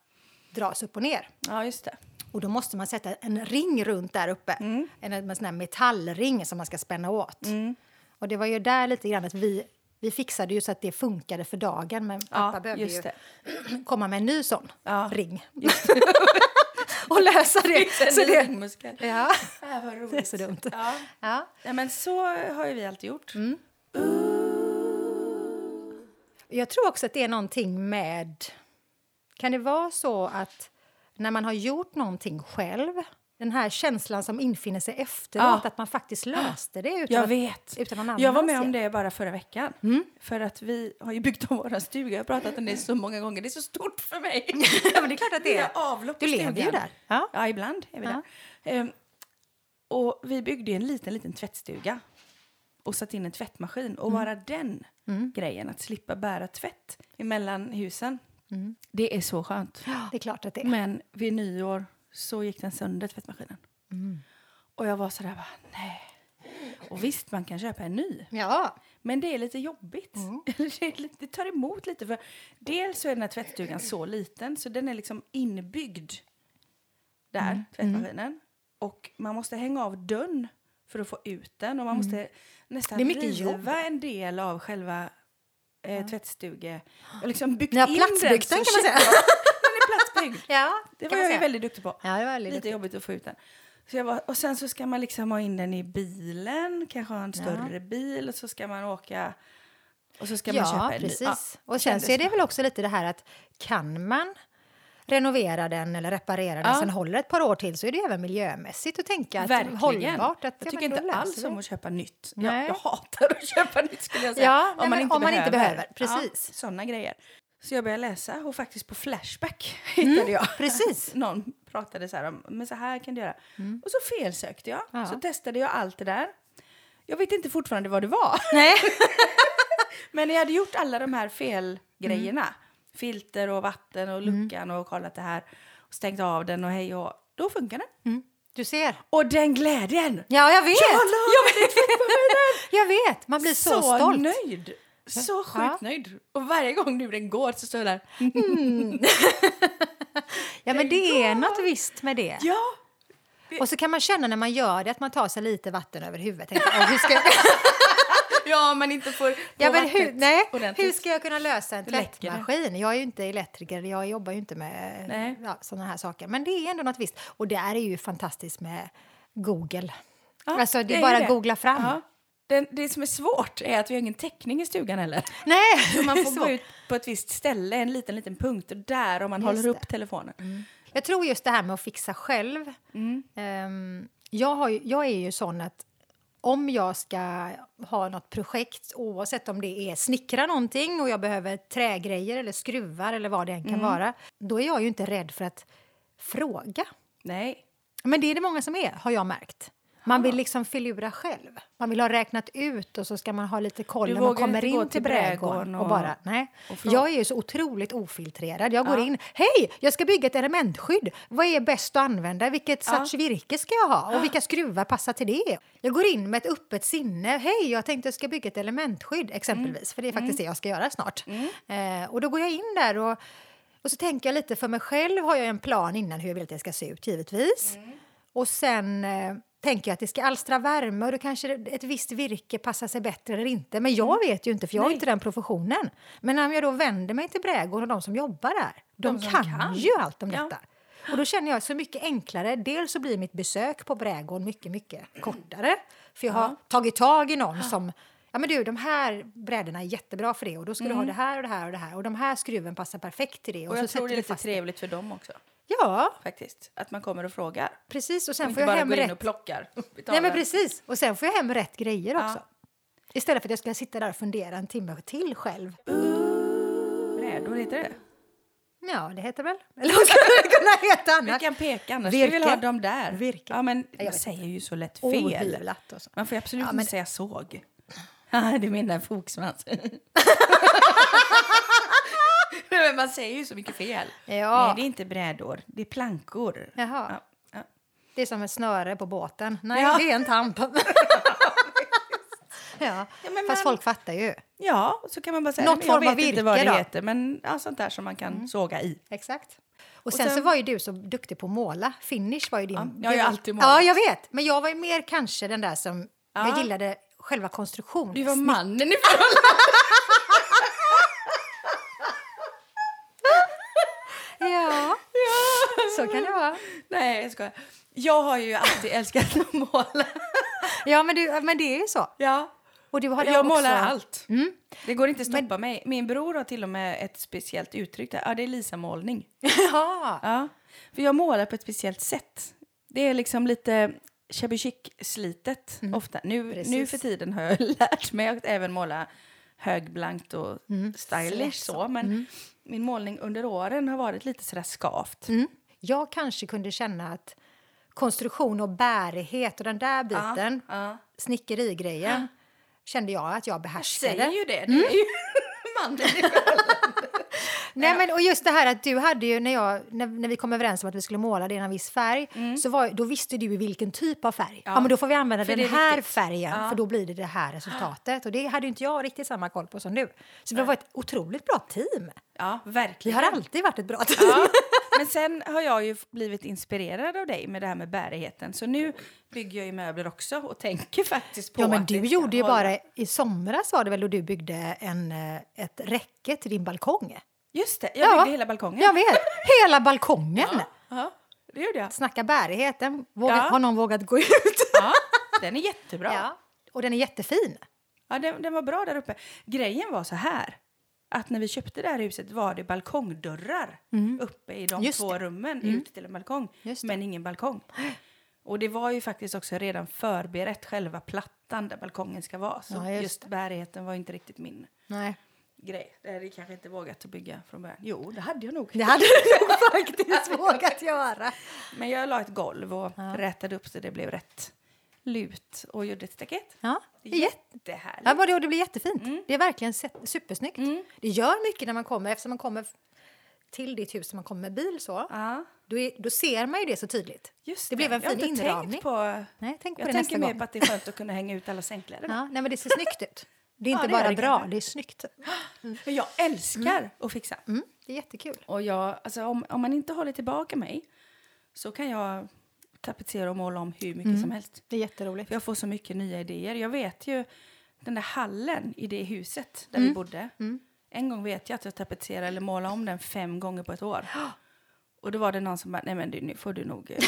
B: dras upp och ner.
A: Ja, just det.
B: Och då måste man sätta en ring runt där uppe,
A: Mm.
B: en, en sån här metallring som man ska spänna åt. Och det var ju där lite grann att vi, vi fixade ju så att det funkade för dagen, men pappa behövde
A: just
B: ju
A: det.
B: *clears throat* komma med en ny sån
A: Ja.
B: ring. *laughs* och lösa det. Så
A: En ny
B: det,
A: ringmuskel.
B: ja.
A: Ja, vad roligt.
B: *laughs* det är så dumt.
A: Ja.
B: Ja.
A: ja, men så har ju vi alltid gjort.
B: Jag tror också att det är någonting med... Kan det vara så att när man har gjort någonting själv den här känslan som infinner sig efteråt,
A: Ja.
B: att man faktiskt löste det utan
A: Jag
B: att, Mm.
A: vet.
B: utan någon annan
A: Jag var med
B: ser.
A: om det bara förra veckan. För att vi har ju byggt om vår stuga. Jag har pratat om det så många gånger. Det är så stort för mig.
B: *laughs* Ja, men det är klart att det
A: Vi
B: är.
A: har avlopp
B: Du
A: i
B: lever ju
A: stugan.
B: där. Ja.
A: Ja, ibland är vi
B: Ja.
A: där. Ehm, och vi byggde ju en liten, liten tvättstuga och satte in en tvättmaskin. Och
B: Mm.
A: bara den grejen, att slippa bära tvätt emellan husen, det är så skönt.
B: Det Mm. är klart att det är.
A: Men vid nyår så gick den sönder, tvättmaskinen.
B: Mm.
A: Och jag var så där, bara, nej. Och visst, man kan köpa en ny.
B: Ja.
A: Men det är lite jobbigt.
B: Mm.
A: *laughs* Det är lite- det tar emot lite. För dels så är den här tvättstugan så liten så den är liksom inbyggd där,
B: Mm.
A: tvättmaskinen. Och man måste hänga av dörren för att få ut den och man måste nästan
B: Mm. Det är mycket
A: riva
B: jobb.
A: en del av själva eh, tvättstuge... Jag har liksom byggt
B: Ni har
A: in
B: platsbyggt
A: så
B: den, kan man säga.
A: käckt. Den är platsbyggd.
B: Ja,
A: Det var
B: kan man
A: jag ju
B: säga.
A: väldigt duktig på.
B: Ja, det var väldigt
A: Lite
B: duktigt.
A: jobbigt att få ut den. Så jag var, och sen så ska man liksom ha in den i bilen, kanske ha en större bil och så ska man åka och så ska man
B: Ja,
A: köpa en ny.
B: precis.
A: Ja,
B: och sen så är
A: kändes-
B: det väl också lite det här att kan man renovera den eller reparera den
A: Ja.
B: sen håller ett par år till så är det ju även miljömässigt att tänka att
A: Verkligen.
B: hållbart. Att, ja,
A: jag tycker
B: men då
A: inte
B: löser
A: alls
B: vi
A: om att köpa nytt.
B: Nej.
A: Jag, jag hatar att köpa nytt skulle jag säga.
B: Ja, nej, men om man inte behöver, precis.
A: Ja, sådana grejer. Så jag började läsa och faktiskt på Flashback *laughs*
B: Mm.
A: hittade jag.
B: precis.
A: Någon pratade så här om, men så här kan du göra. Och så felsökte jag.
B: Mm. Ja.
A: Så testade jag allt det där. Jag vet inte fortfarande vad det var.
B: Nej.
A: *laughs* Men jag hade gjort alla de här felgrejerna.
B: Mm.
A: Filter och vatten och luckan och kollat det här. Och stängt av den och hej och... Då funkar den.
B: Du ser.
A: Och den glädjen!
B: Ja, Mm. jag vet!
A: Jag la mig dit
B: Jag vet! Man blir så, stolt.
A: nöjd! Så sjukt
B: Ja.
A: nöjd. Och varje gång nu den går så står jag där.
B: Ja, men det är
A: går.
B: något visst med det.
A: Ja!
B: Och så kan man känna när man gör det att man tar sig lite vatten över huvudet. Tänker, "Åh, hur ska
A: *laughs*
B: jag,
A: Ja, man inte får på
B: ja, men hur,
A: vattnet
B: nej,
A: ordentligt.
B: hur ska jag kunna lösa en
A: Det läcker.
B: tvättmaskin? Jag är ju inte elektriker, jag jobbar ju inte med
A: Nej.
B: ja, sådana här saker. Men det är ändå något visst. Och det här är ju fantastiskt med Google.
A: Ja,
B: alltså, det är
A: ju
B: bara googla fram.
A: Ja. Den, det som är svårt är att vi har ingen täckning i stugan heller.
B: Nej,
A: Så *laughs* man får
B: *laughs* så.
A: gå ut på ett visst ställe, en liten, liten punkt, och där om man
B: Just
A: håller
B: det.
A: upp telefonen.
B: Jag tror just det här med att fixa själv.
A: Mm.
B: Ehm, jag, har ju, jag är ju sån att om jag ska ha något projekt oavsett om det är snickra någonting och jag behöver trägrejer eller skruvar eller vad det än kan
A: Mm.
B: vara då är jag ju inte rädd för att fråga.
A: Nej.
B: Men det är det många som är, har jag märkt. Man vill liksom filura själv. Man vill ha räknat ut och så ska man ha lite koll
A: Du
B: när man
A: vågar
B: kommer
A: inte gå
B: in
A: till
B: till brädgården
A: brädgården
B: och,
A: och-
B: bara, nej.
A: och fråga.
B: jag är ju så otroligt ofiltrerad. Jag går
A: Ja.
B: in, hej, jag ska bygga ett elementskydd. Vad är bäst att använda? Vilket
A: Ja.
B: sorts virke ska jag ha? Och vilka skruvar passar till det? Jag går in med ett öppet sinne. Hej, jag tänkte jag ska bygga ett elementskydd exempelvis.
A: Mm.
B: För det är faktiskt det jag ska göra snart. Eh, och då går jag in där och och så tänker jag lite för mig själv har jag en plan innan hur jag vill att det ska se ut givetvis.
A: Mm.
B: Och sen eh, tänker jag att det ska alstra värme och då kanske det- ett visst virke passar sig bättre eller inte. Men jag vet ju inte för jag har
A: Mm. Nej.
B: inte den professionen. Men om jag då vänder mig till brädgården och de som jobbar där, de,
A: De som
B: kan,
A: kan.
B: ju allt om
A: Ja.
B: detta. Och då känner jag så mycket enklare. Dels så blir mitt besök på brädgården mycket, mycket kortare. För jag har tagit tag i
A: Ah.
B: någon som Ja men du, de här brädorna är jättebra för det och då ska du ha det här och det här och det här och de här skruven passar perfekt till det.
A: Mm. Och, jag
B: så
A: tror
B: sätter
A: det är
B: vi
A: lite
B: fast det.
A: trevligt för dem också,
B: Ja,
A: faktiskt. Att man kommer och frågar.
B: precis. Och sen
A: och inte
B: får jag
A: bara
B: hem
A: går in och
B: rätt.
A: plockar.
B: Nej,
A: betalar.
B: men precis. Och sen får jag hem rätt grejer
A: Ja.
B: också. Istället för att jag ska sitta där och fundera en timme till själv.
A: Brädor, heter det?
B: Ja, det heter väl? *laughs* Eller vad skulle det kunna heta annars?
A: Vilken peka annars? Vi vill
B: Virke.
A: ha dem där.
B: Virke.
A: Ja, men
B: vet
A: jag
B: inte.
A: säger ju så lätt fel.
B: Ohyvlat och så.
A: Man får ju absolut
B: Ja, men-
A: inte säga
B: *laughs*
A: såg. Ah, du menar fogsvans. *laughs* men man säger ju så mycket fel.
B: Ja.
A: Nej, det är inte brädor, det är plankor.
B: Jaha.
A: Ja, ja.
B: Det är som ett snöre på båten. Nej,
A: Ja.
B: det är en
A: *laughs*
B: tamp. ja.
A: Ja, men
B: Fast
A: man-
B: folk fattar ju.
A: Ja, och så kan man bara säga
B: Något
A: men jag
B: form av
A: vet inte vad
B: virke
A: det
B: då? Mm.
A: heter, men ja, sånt där som man kan såga i.
B: Exakt. Och sen,
A: sen-
B: så var ju du så duktig på att måla. Finish var ju din...
A: jag har ju
B: det var-
A: alltid målat.
B: Ja, jag vet. Men jag var ju mer kanske den där som... Jag
A: Ja.
B: gillade själva konstruktionen.
A: Du var mannen i förhållandet.
B: Ja. så kan det vara.
A: *laughs* Nej, jag skojar. Jag har ju alltid älskat att
B: *laughs*
A: måla.
B: Ja, men, du, men det är ju så.
A: Ja.
B: Och du har
A: Jag målar allt.
B: Mm.
A: Det går inte att stoppa mig. Min bror har till och med ett speciellt uttryck. Där. Ja, det är Lisa-målning.
B: Ja.
A: Ja, för jag målar på ett speciellt sätt. Det är liksom lite shabby chic-slitet ofta. Nu, nu
B: Mm. Precis.
A: för tiden har jag *laughs* lärt mig att även måla högblankt och
B: Mm.
A: stylish så. Men min målning under åren har varit lite sådär skavt.
B: Mm. Jag kanske kunde känna att konstruktion och bärighet och den där biten,
A: ja.
B: snickerigrejen, kände jag att jag Mm. behärskade.
A: Säger ju det. Det är ju *laughs* mannen.
B: *laughs* Nej, men, och just det här att du hade ju, när, jag, när, när vi kom överens om att vi skulle måla det i en viss färg, så var, då visste du ju vilken typ av färg. Ja, men då får vi använda
A: Mm. För
B: den
A: det är
B: här
A: viktigt.
B: färgen, för då blir det det här resultatet. Och det hade ju inte jag riktigt samma koll på som du. Så det var ett otroligt bra team.
A: Ja,
B: Vi
A: verkligen.
B: har alltid varit ett bra team.
A: Ja. Men sen har jag ju blivit inspirerad av dig med det här med bärigheten. Så nu bygger jag ju möbler också och tänker faktiskt på
B: Ja, men
A: att det
B: du
A: ska
B: gjorde ju
A: hålla.
B: bara i somras var det väl då du byggde en, eh, ett räcke till din balkong?
A: Just det, jag
B: Ja.
A: byggde hela balkongen.
B: Jag vet, hela balkongen!
A: Ja, ja, det gjorde jag.
B: Snacka bärighet, den vågar,
A: Ja.
B: har någon vågat gå ut?
A: *laughs* Ja, den är jättebra. Ja.
B: Och den är jättefin.
A: den, den var bra där uppe. Grejen var så här, att när vi köpte det här huset var det balkongdörrar uppe i de
B: Just
A: två
B: det.
A: rummen ut till en balkong,
B: Just det.
A: men ingen balkong. Och det var ju faktiskt också redan förberett själva plattan där balkongen ska vara. Så
B: Ja, just
A: just, bärigheten var ju inte riktigt min
B: Nej.
A: grej. Det hade jag kanske inte vågat att bygga från början. Jo, det hade jag nog.
B: Det hade du nog *laughs* faktiskt vågat göra.
A: Men jag la ett golv och rätade upp så det blev rätt lut och gjorde ett staket.
B: Ja, det är jätte-
A: Jättehärligt.
B: ja, men
A: Mm.
B: det- och det blir jättefint. Det är verkligen se- supersnyggt. Det gör mycket när man kommer, eftersom man kommer till ditt hus när man kommer med bil så,
A: Ja,
B: då, är, då ser man ju det så tydligt.
A: just
B: Det blev en
A: Jag har
B: fin
A: inte
B: inramning.
A: Tänkt på,
B: Nej, tänk på
A: jag
B: det
A: tänker
B: nästa
A: mer
B: gång.
A: på att det är skönt att kunna hänga ut alla sängkläder.
B: *laughs* Ja, nej, men det ser snyggt ut. Det är
A: Ja,
B: inte
A: det gör
B: bara
A: det
B: bra,
A: kanske.
B: det är snyggt.
A: Men jag älskar att fixa.
B: Mm, det är jättekul.
A: Och jag, alltså, om, om man inte håller tillbaka mig så kan jag tapetsera och måla om hur mycket
B: Mm.
A: som helst.
B: Det är jätteroligt.
A: För jag får så mycket nya idéer. Jag vet ju den där hallen i det huset där
B: Mm.
A: vi bodde. En gång vet jag att jag tapetserade eller målade om den fem gånger på ett
B: *gasps*
A: år. Och då var det någon som bara, nej men du, nu får du nog... eh."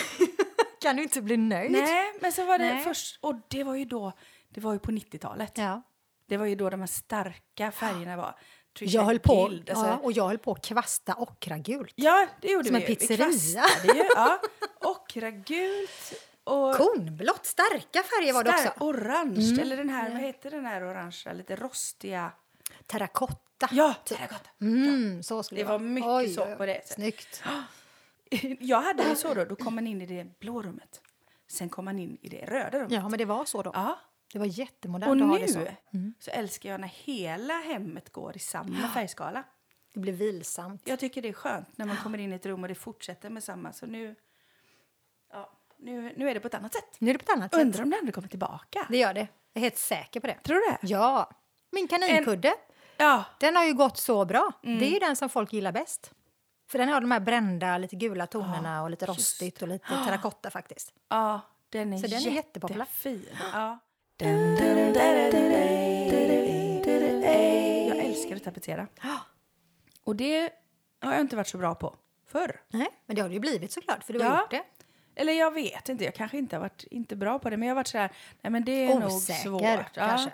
B: Kan du inte bli nöjd?
A: nej, men så var det
B: Nej.
A: först, och det var ju då, det var ju på 90-talet.
B: Ja.
A: Det var ju då de här starka färgerna var. Tryck
B: Jag höll på,
A: bild, alltså.
B: ja, och jag höll på att kvasta ockragult.
A: Ja, det gjorde
B: Som
A: vi.
B: en
A: ju.
B: pizzeria.
A: Vi kvastade ju. Ja. Ockragult och
B: Kornblått, starka färger var det
A: stark
B: också. Mm.
A: orange. Eller den här, vad heter den här orangea, lite rostiga?
B: Terrakotta.
A: Ja, terrakotta.
B: Mm, så skulle
A: Det var mycket
B: Oj,
A: så
B: oj, oj.
A: på det sättet.
B: Snyggt.
A: *laughs* Jag hade det så då, då kom man in i det blå rummet. Sen kom man in i det röda rummet.
B: Ja, men det var så då.
A: Ja.
B: Det var jättemodernt
A: Och
B: att ha
A: nu
B: det så. Mm.
A: så älskar jag när hela hemmet går i samma färgskala.
B: Det blir vilsamt.
A: Jag tycker det är skönt när man kommer in i ett rum och det fortsätter med samma. Så nu, ja, nu, nu är det på ett annat sätt.
B: Nu är det på ett annat sätt.
A: Undrar om det aldrig kommer tillbaka.
B: Det gör det. Jag är helt säker på det.
A: Tror du det?
B: Ja. Min kaninkudde,
A: Ja.
B: den har ju gått så bra. Det är
A: Mm.
B: ju den som folk gillar bäst. För den har de här brända, lite gula tonerna och lite rostigt och lite
A: *gasps*
B: terrakotta faktiskt.
A: Ja, den är,
B: Så den är jättepopulär.
A: jättefin. Ja. Jag älskar att tapetsera. Och det har jag inte varit så bra på förr.
B: Nej, men det har det ju blivit såklart, för du har
A: Ja.
B: gjort det.
A: Eller jag vet inte, jag kanske inte har varit inte bra på det. Men jag har varit så här, nej men det är
B: Osäker,
A: nog svårt.
B: kanske.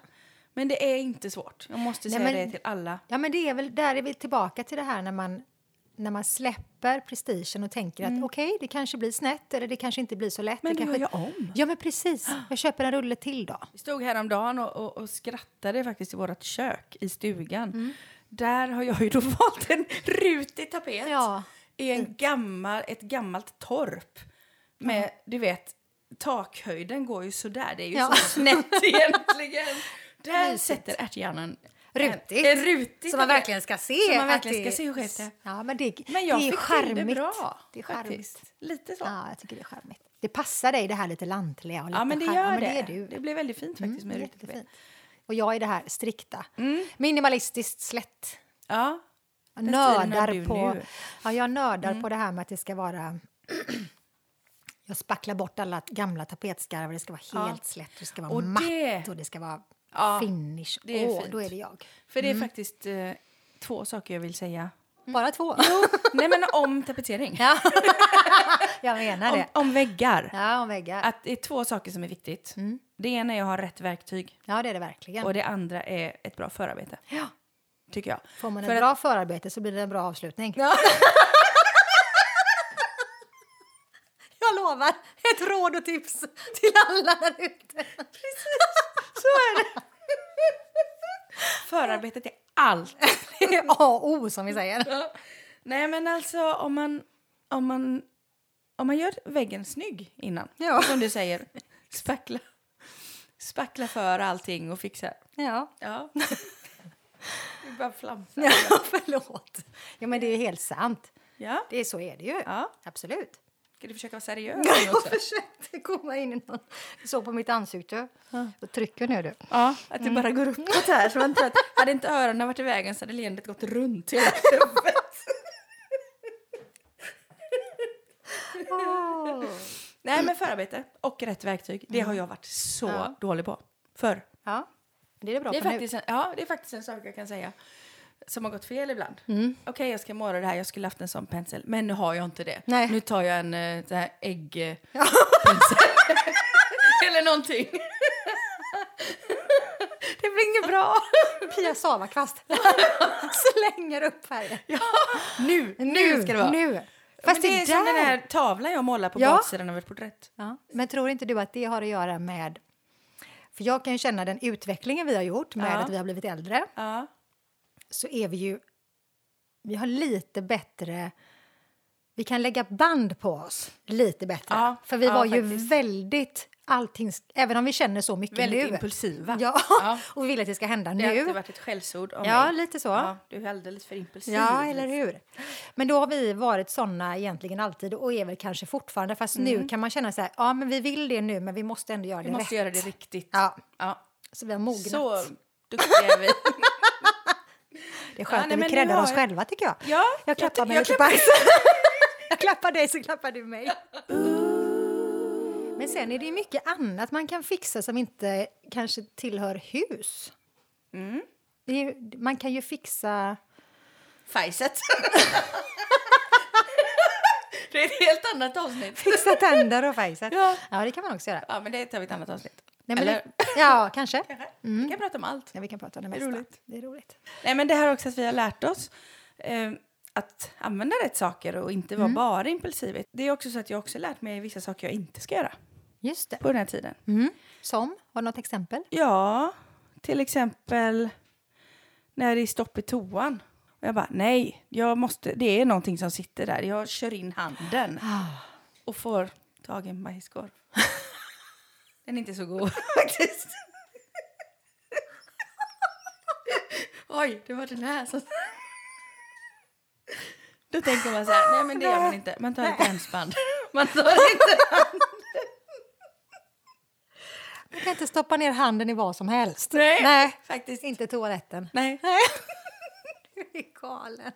A: Men det är inte svårt. Jag måste
B: Nej,
A: säga
B: men-
A: det till alla.
B: Ja, men det är väl, där är vi tillbaka till det här när man, när man släpper prestigen och tänker att okej, det kanske blir snett eller det kanske inte blir så lätt.
A: Mm. Men
B: det
A: det
B: kanske...
A: gör jag om.
B: Ja,
A: *gasps*
B: men precis. Jag köper en rulle till då.
A: Vi stod häromdagen och, och, och skrattade faktiskt i vårt kök i stugan.
B: Mm.
A: Där har jag ju då *laughs* valt en rutig tapet
B: Ja.
A: i en gammal, ett gammalt torp. Med, du vet, takhöjden går ju sådär. Det är ju
B: Ja.
A: så
B: *laughs*
A: snett egentligen. Där
B: Mysigt.
A: sätter ärthjärnan en-
B: Rutigt.
A: En rutig
B: Som man
A: tapet.
B: verkligen ska se.
A: Som man
B: att
A: verkligen
B: det-
A: ska se hur skevt det är.
B: Ja, men det,
A: Men jag
B: det är
A: fick
B: charmigt.
A: till det bra.
B: Det är charmigt.
A: faktiskt. Lite så. Ja,
B: Ja, jag tycker det är charmigt. Det passar dig det här lite lantliga och lite
A: men det gör
B: charm- ja, men
A: det.
B: det. är du. Mm.
A: Det blir väldigt fint faktiskt med rutig tapet.
B: Jättefint. Och jag är det här strikta. Minimalistiskt slätt.
A: Ja.
B: Jag
A: Den stilen har
B: nördar
A: du
B: på,
A: nu. Mm.
B: ja, jag nördar på det här med att det ska vara... *clears throat* jag spacklar bort alla gamla tapetskarvar. Det ska vara helt slätt, det ska vara
A: Och
B: matt
A: det-
B: och det ska vara
A: Ja,
B: finish.
A: det är
B: Åh,
A: fint.
B: då är det jag.
A: För det är
B: Mm.
A: faktiskt eh, två saker jag vill säga.
B: Bara två?
A: Nej, men om tapetsering.
B: *laughs* ja. jag menar
A: om,
B: det.
A: om väggar.
B: Ja, om väggar.
A: Att det är två saker som är viktigt. Det ena är att ha rätt verktyg
B: Ja, det är det verkligen.
A: och det andra är ett bra förarbete,
B: ja.
A: tycker jag.
B: Får man
A: För
B: ett
A: att-
B: bra förarbete så blir det en bra avslutning. *laughs* jag lovar! Ett råd och tips till alla där ute.
A: Så är det. Förarbetet är allt.
B: *laughs* Det är A och O, som vi säger.
A: Nej, men alltså om man, om man, om man gör väggen snygg innan,
B: Ja.
A: som du säger, spackla, spackla för allting och fixa.
B: Ja.
A: *laughs* Ja. Vi bara flamsar.
B: ja, förlåt. Ja, men det är helt sant.
A: Ja.
B: Det är, så är det ju.
A: ja.
B: Absolut.
A: Ska du försöka vara seriös nu också?
B: försökte komma in i någon... Så på mitt ansikte. Jag trycker nu, du.
A: Ja, att det bara går uppåt här. Så man *laughs* tror att hade inte öronen varit i vägen så hade leendet gått runt hela huvudet. Nej, men förarbete och rätt verktyg, det har jag varit så
B: Ja.
A: dålig på förr.
B: Ja, det är det bra
A: Det är,
B: på
A: faktiskt en, ja, det är faktiskt en sak jag kan säga som har gått fel ibland. Okej, jag ska måla det här, jag skulle haft en sån pensel, men nu har jag inte det.
B: Nej.
A: Nu tar jag en eh, sån här äggpensel. *laughs* Eller någonting. *laughs* det blir inget bra.
B: nu. Pia *laughs* Savakvast
A: *laughs*
B: slänger upp färgen.
A: Ja, nu, nu, ska det vara.
B: Nu.
A: Men
B: Fast
A: det är
B: det,
A: som
B: där...
A: den här tavlan jag målar på
B: Ja.
A: baksidan av ett porträtt.
B: Ja. Men tror inte du att det har att göra med... För jag kan ju känna den utvecklingen vi har gjort med
A: Ja.
B: att vi har blivit äldre.
A: Ja.
B: så är vi ju... Vi har lite bättre... Vi kan lägga band på oss lite bättre.
A: Ja,
B: För vi
A: ja,
B: var ju
A: faktiskt.
B: väldigt allting, även om vi känner så mycket
A: Väldigt
B: nu.
A: impulsiva.
B: Ja,
A: Ja.
B: *laughs* och vi vill att det ska hända
A: Det har alltid
B: nu.
A: varit ett skällsord om
B: Ja,
A: mig.
B: lite så.
A: Ja, du är alldeles för impulsiv.
B: Ja, eller hur? Men då har vi varit såna egentligen alltid och är väl kanske fortfarande. Fast nu kan man känna så här, ja men vi vill det nu men vi måste ändå göra
A: Mm. Vi
B: det
A: måste
B: rätt.
A: göra det riktigt.
B: Ja,
A: Ja.
B: så vi har mognat.
A: Så duktiga är vi.
B: Det är skönt
A: Ja, nej,
B: när
A: men
B: vi
A: nu
B: creddar
A: har
B: oss
A: jag-
B: själva tycker jag.
A: Ja,
B: jag
A: jag
B: klappar
A: ty-
B: mig
A: jag
B: lite på
A: klappar-
B: axeln.
A: *laughs*
B: jag klappar dig så klappar du mig. Men sen är det ju mycket annat man kan fixa som inte kanske tillhör hus.
A: Mm.
B: Det är, ju- man kan ju fixa...
A: Fajset. det är ett helt annat avsnitt.
B: Fixa tänder och fajsa.
A: *laughs* Ja.
B: ja, det kan man också göra.
A: Ja, men det tar vi ett annat avsnitt.
B: Nej, men
A: Eller?
B: det, Mm. ja, kanske.
A: Kanske. Vi kan prata om allt.
B: Ja, vi kan prata om det
A: är
B: mesta.
A: roligt.
B: Det är roligt.
A: Nej, men det här också att vi har lärt oss eh, att använda rätt saker och inte
B: Mm.
A: vara bara impulsiva. Det är också så att jag också lärt mig vissa saker jag inte ska göra
B: Just det.
A: på den här tiden.
B: Mm. Som? Har du något exempel?
A: Ja, till exempel när det är stopp i toan. Och jag bara, nej, jag måste, det är någonting som sitter där. Jag kör in handen och får tag i en bajskorv. *laughs* Den är inte så *laughs* god faktiskt. Oj, det var den här som... Då tänker man så här, nej men det gör man inte. Man tar ett dansband. *laughs* Man tar inte...
B: Man kan inte stoppa ner handen i vad som helst.
A: Nej,
B: Nej.
A: faktiskt
B: Inte toaletten. *laughs*
A: Nej.
B: Du är galen.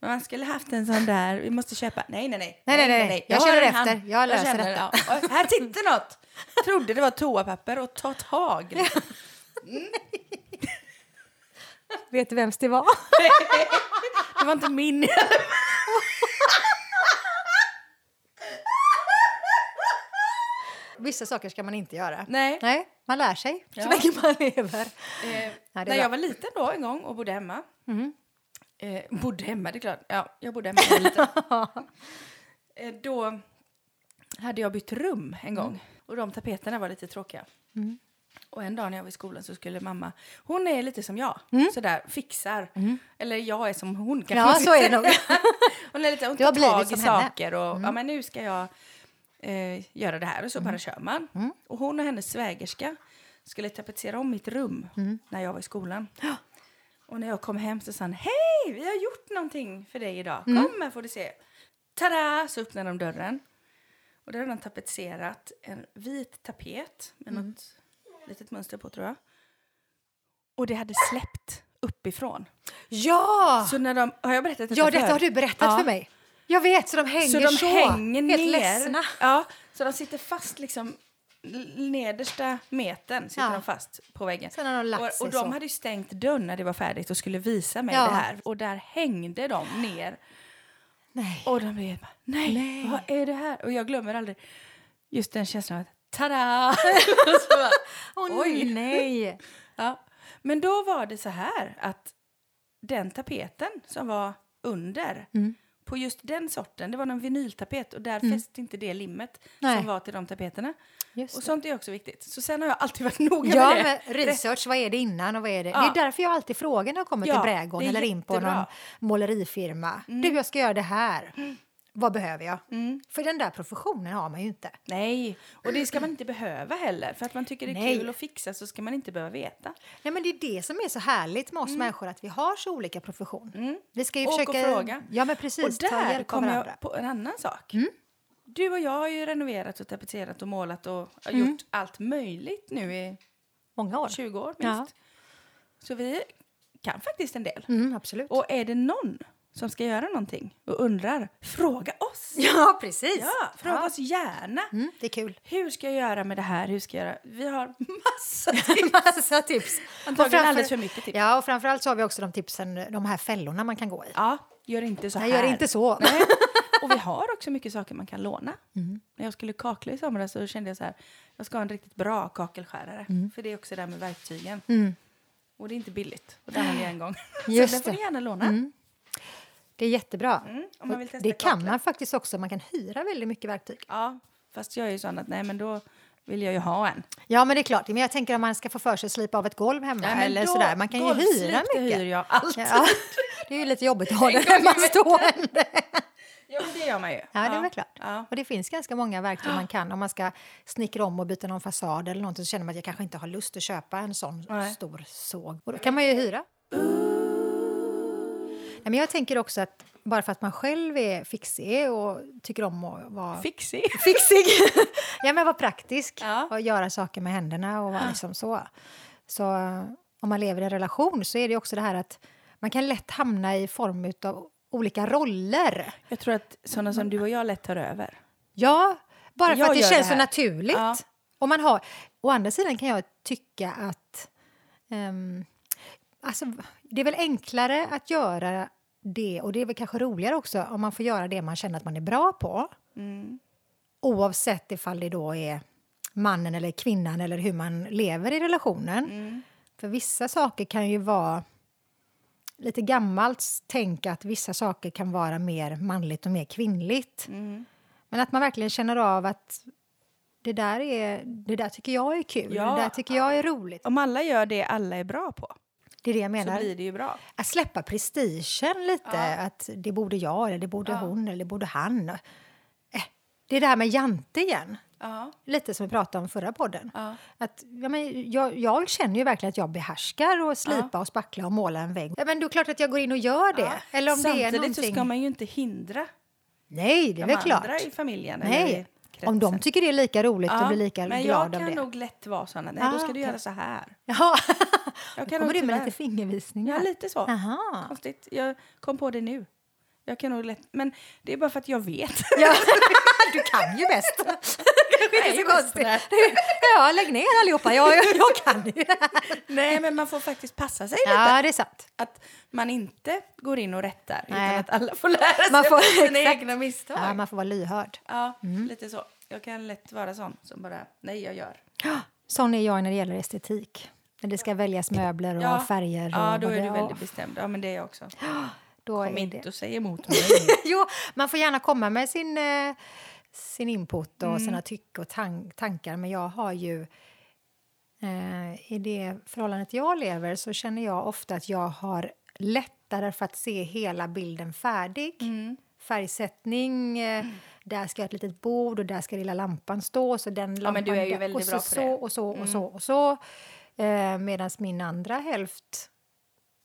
A: Men man skulle haft en sån där, vi måste köpa. Nej, nej, nej.
B: Nej, nej, nej. Jag
A: har
B: känner
A: en
B: efter.
A: hand.
B: Jag löser
A: känner,
B: detta.
A: ja. Och Här sitter något. Trodde det var toapapper och ta
B: *laughs*
A: tag. liksom.
B: Vet du vems det var?
A: Det var inte min.
B: *laughs* Vissa saker ska man inte göra.
A: Nej.
B: Nej man lär sig så
A: Ja.
B: länge man lever.
A: Eh,
B: Ja, det
A: när jag
B: är bra. Mm-hmm.
A: var liten då en gång och bodde hemma. Eh, bodde hemma, det är klart. Ja, jag bodde hemma när jag var liten.
B: *laughs*
A: eh, då hade jag bytt rum en
B: Mm.
A: gång och de tapeterna var lite tråkiga. Och en dag när jag var i skolan så skulle mamma, hon är lite som jag, sådär fixar. Eller jag är som hon kanske.
B: Mm. Ja,
A: man
B: så är
A: säger.
B: det nog.
A: hon är lite, hon
B: Du har
A: tar
B: blivit
A: tag i
B: som henne. Mm.
A: saker och ja men nu ska jag eh, göra det här och så bara kör man.
B: Mm.
A: Och hon och hennes svägerska skulle tapetsera om mitt rum
B: Mm.
A: när jag var i skolan. Och när jag kom hem så sa han, hej vi har gjort någonting för dig idag,
B: Mm.
A: kom här får du se. Tada! Så öppnade de dörren. Och där hade de tapetserat en vit tapet med
B: Mm.
A: något litet mönster på tror jag. Och det hade släppt uppifrån.
B: *laughs* Ja!
A: Så när de, har jag berättat detta
B: Ah. Ja, detta
A: förut?
B: har du berättat
A: Ja.
B: för mig. Jag vet, så de hänger
A: Så de
B: så.
A: hänger
B: Helt
A: ner.
B: ledsna.
A: Ja, så de sitter fast liksom l- nedersta metern sitter
B: Ja.
A: de fast på väggen.
B: Sen har de lagt
A: och,
B: sig
A: och de
B: så.
A: hade ju stängt dörren när det var färdigt och skulle visa mig
B: Ja.
A: det här. Och där hängde de ner.
B: Nej.
A: Och de blev bara, nej,
B: Nej.
A: vad är det här? Och jag glömmer aldrig just den känslan av
B: *laughs*
A: att *laughs* tada! Och så bara,
B: Åh,
A: Oj.
B: nej.
A: ja. Men då var det så här att den tapeten som var under
B: Mm.
A: på just den sorten, det var någon vinyltapet och där fäste inte det limmet
B: Nej.
A: som var till de tapeterna.
B: Just
A: och
B: det.
A: sånt är också viktigt. Så sen har jag alltid varit *laughs* noga
B: Ja,
A: med det.
B: men research, vad är det innan och vad är det?
A: Ja.
B: Det är därför jag alltid frågar när jag kommer
A: Ja,
B: till Brädgården
A: det är
B: eller in på
A: jättebra. Mm.
B: någon målerifirma. Du, jag ska göra det här. Vad behöver jag? För den där professionen har man ju inte.
A: Nej, och det ska man inte behöva heller. För att man tycker det är
B: Nej.
A: kul att fixa så ska man inte behöva veta.
B: Nej, men det är det som är så härligt med oss människor, att vi har så olika profession. Vi ska ju
A: Mm. Och
B: försöka...
A: och fråga.
B: Ja, men precis.
A: och
B: ta
A: där
B: hjälp av
A: kommer
B: varandra. Mm.
A: jag på en annan sak. Du och jag har ju renoverat och tapetserat och målat och har
B: Mm.
A: gjort allt möjligt nu i
B: Många år.
A: 20 år minst.
B: Ja.
A: Så vi kan faktiskt en del.
B: Mm, absolut.
A: Och är det någon som ska göra någonting och undrar, fråga oss!
B: *laughs* ja, precis.
A: Ja, fråga oss gärna!
B: Mm, det är kul.
A: Hur ska jag göra med det här? Hur ska jag göra? Vi har massa
B: *laughs*
A: tips!
B: Massa tips.
A: Antagligen
B: Och framför-
A: alldeles för mycket tips.
B: Ja, och framförallt så har vi också de tipsen, de här fällorna man kan gå i.
A: Ja, gör inte så här.
B: Nej, gör inte så. Mm.
A: Nej. Och vi har också mycket saker man kan låna. När jag skulle kakla i somras så kände jag så här, jag ska ha en riktigt bra kakelskärare.
B: Mm.
A: För det är också det där med verktygen. Och det är inte billigt. Och där hade jag en gång.
B: Just
A: så den får
B: det.
A: ni gärna låna. Mm,
B: Det är jättebra.
A: om man
B: Och
A: vill testa
B: det kan
A: kaklet.
B: man faktiskt också. Man kan hyra väldigt mycket verktyg.
A: Ja, fast jag är ju sån att nej men då vill jag ju ha en.
B: Ja, men det är klart. Men jag tänker om man ska få för sig att slipa av ett golv hemma
A: Nej, men
B: eller
A: då-
B: sådär. Man kan ju
A: golvslip,
B: hyra
A: det
B: mycket. *laughs*
A: hyr jag alltid.
B: Ja, det är ju lite jobbigt att ha den hemma stående.
A: Ja, Ja, men det gör man ju.
B: Ja, det är väl klart.
A: Ja.
B: Och det finns ganska många verktyg man kan. Om man ska snickra om och byta någon fasad eller någonting så känner man att jag kanske inte har lust att köpa en sån
A: Nej.
B: stor såg. Och då kan man ju hyra. Nej, men jag tänker också att bara för att man själv är fixig och tycker om att vara
A: Fixig.
B: fixig, *laughs* ja men vara praktisk
A: Ja. Ah.
B: och göra saker med händerna och vara liksom så. Så eh, om man lever i en relation så är det också det här att man kan lätt hamna i form av olika roller.
A: Jag tror att sådana som du och jag lätt tar över.
B: Ja, bara för
A: Jag
B: att det
A: gör
B: känns
A: det
B: så
A: här.
B: naturligt.
A: Ja.
B: Och man har, å andra sidan kan jag tycka att... ehm, alltså, det är väl enklare att göra det, och det är väl kanske roligare också om man får göra det man känner att man är bra på.
A: Mm.
B: Oavsett ifall det då är mannen eller kvinnan eller hur man lever i relationen.
A: Mm.
B: För vissa saker kan ju vara lite gammalt tänk att vissa saker kan vara mer manligt och mer
A: Mm.
B: kvinnligt. Men att man verkligen känner av att det där, är, det där tycker jag är kul,
A: Ja.
B: det där tycker jag är roligt.
A: Om alla gör det alla är bra på
B: Det är det jag
A: så
B: menar.
A: blir det ju bra.
B: Att släppa prestigen lite, att det borde jag, eller det borde hon, eller det borde han. Eh, det är det här med jante igen.
A: Ja.
B: Lite som vi pratade om förra podden.
A: Ja.
B: Att, ja, men jag, jag känner ju verkligen att jag behärskar att slipa och spackla och måla en vägg. Ja, men då är det klart att jag går in och gör det. Eller om
A: Samtidigt
B: det är någonting...
A: så ska man ju inte hindra
B: Nej, det är
A: de
B: väl klart.
A: andra i familjen. eller i
B: Nej. Om de
A: kretsen.
B: tycker det är lika roligt och blir lika
A: men
B: glad
A: jag
B: av
A: kan
B: det. *laughs*
A: nog lätt vara sån. att, Nej,
B: Ah,
A: då ska du
B: okej.
A: göra så här.
B: Jaha.
A: Jag kan
B: Kommer
A: nog
B: du med
A: tyvärr-
B: lite fingervisningar?
A: Ja, lite så.
B: Aha.
A: Konstigt. Jag kom på det nu. Jag kan nog lätt... Men det är bara för att jag
B: *laughs*
A: vet.
B: Ja. Du kan
A: *laughs*
B: ju bäst. Kanske
A: Nej,
B: inte
A: bäst,
B: så konstigt. *laughs*
A: nej.
B: Ja, lägg ner allihopa. Jag, jag, jag kan
A: *laughs*
B: ju.
A: Nej, men man får faktiskt passa sig lite.
B: Ja, det är sant.
A: Att man inte går in och rättar, utan
B: Nej.
A: att alla får lära sig
B: Man får-
A: av sina
B: *laughs* exakt.
A: egna misstag.
B: Ja, Mm. man får vara lyhörd.
A: Ja, lite så. Jag kan lätt vara sån som bara, nej, jag gör.
B: Sån är jag när det gäller estetik. När det ska väljas möbler och
A: Ja.
B: färger. Och
A: Ja, då
B: vad
A: är
B: det-
A: du väldigt bestämd. Ja, men det är jag också.
B: då
A: Kom
B: är det.
A: inte och säg emot
B: *laughs*
A: mig.
B: Jo, man får gärna komma med sin, eh, sin input
A: Mm.
B: och sina tyck och tan- tankar, men jag har ju... Eh, I det förhållandet jag lever så känner jag ofta att jag har lättare för att se hela bilden färdig.
A: Mm.
B: Färgsättning, eh, där ska jag ha ett litet bord och där ska lilla lampan stå. Så den
A: Ja, men du
B: lampan
A: är ju
B: där,
A: väldigt
B: och så,
A: bra på
B: så,
A: det. Mm.
B: och så och så och så. Eh, Medan min andra hälft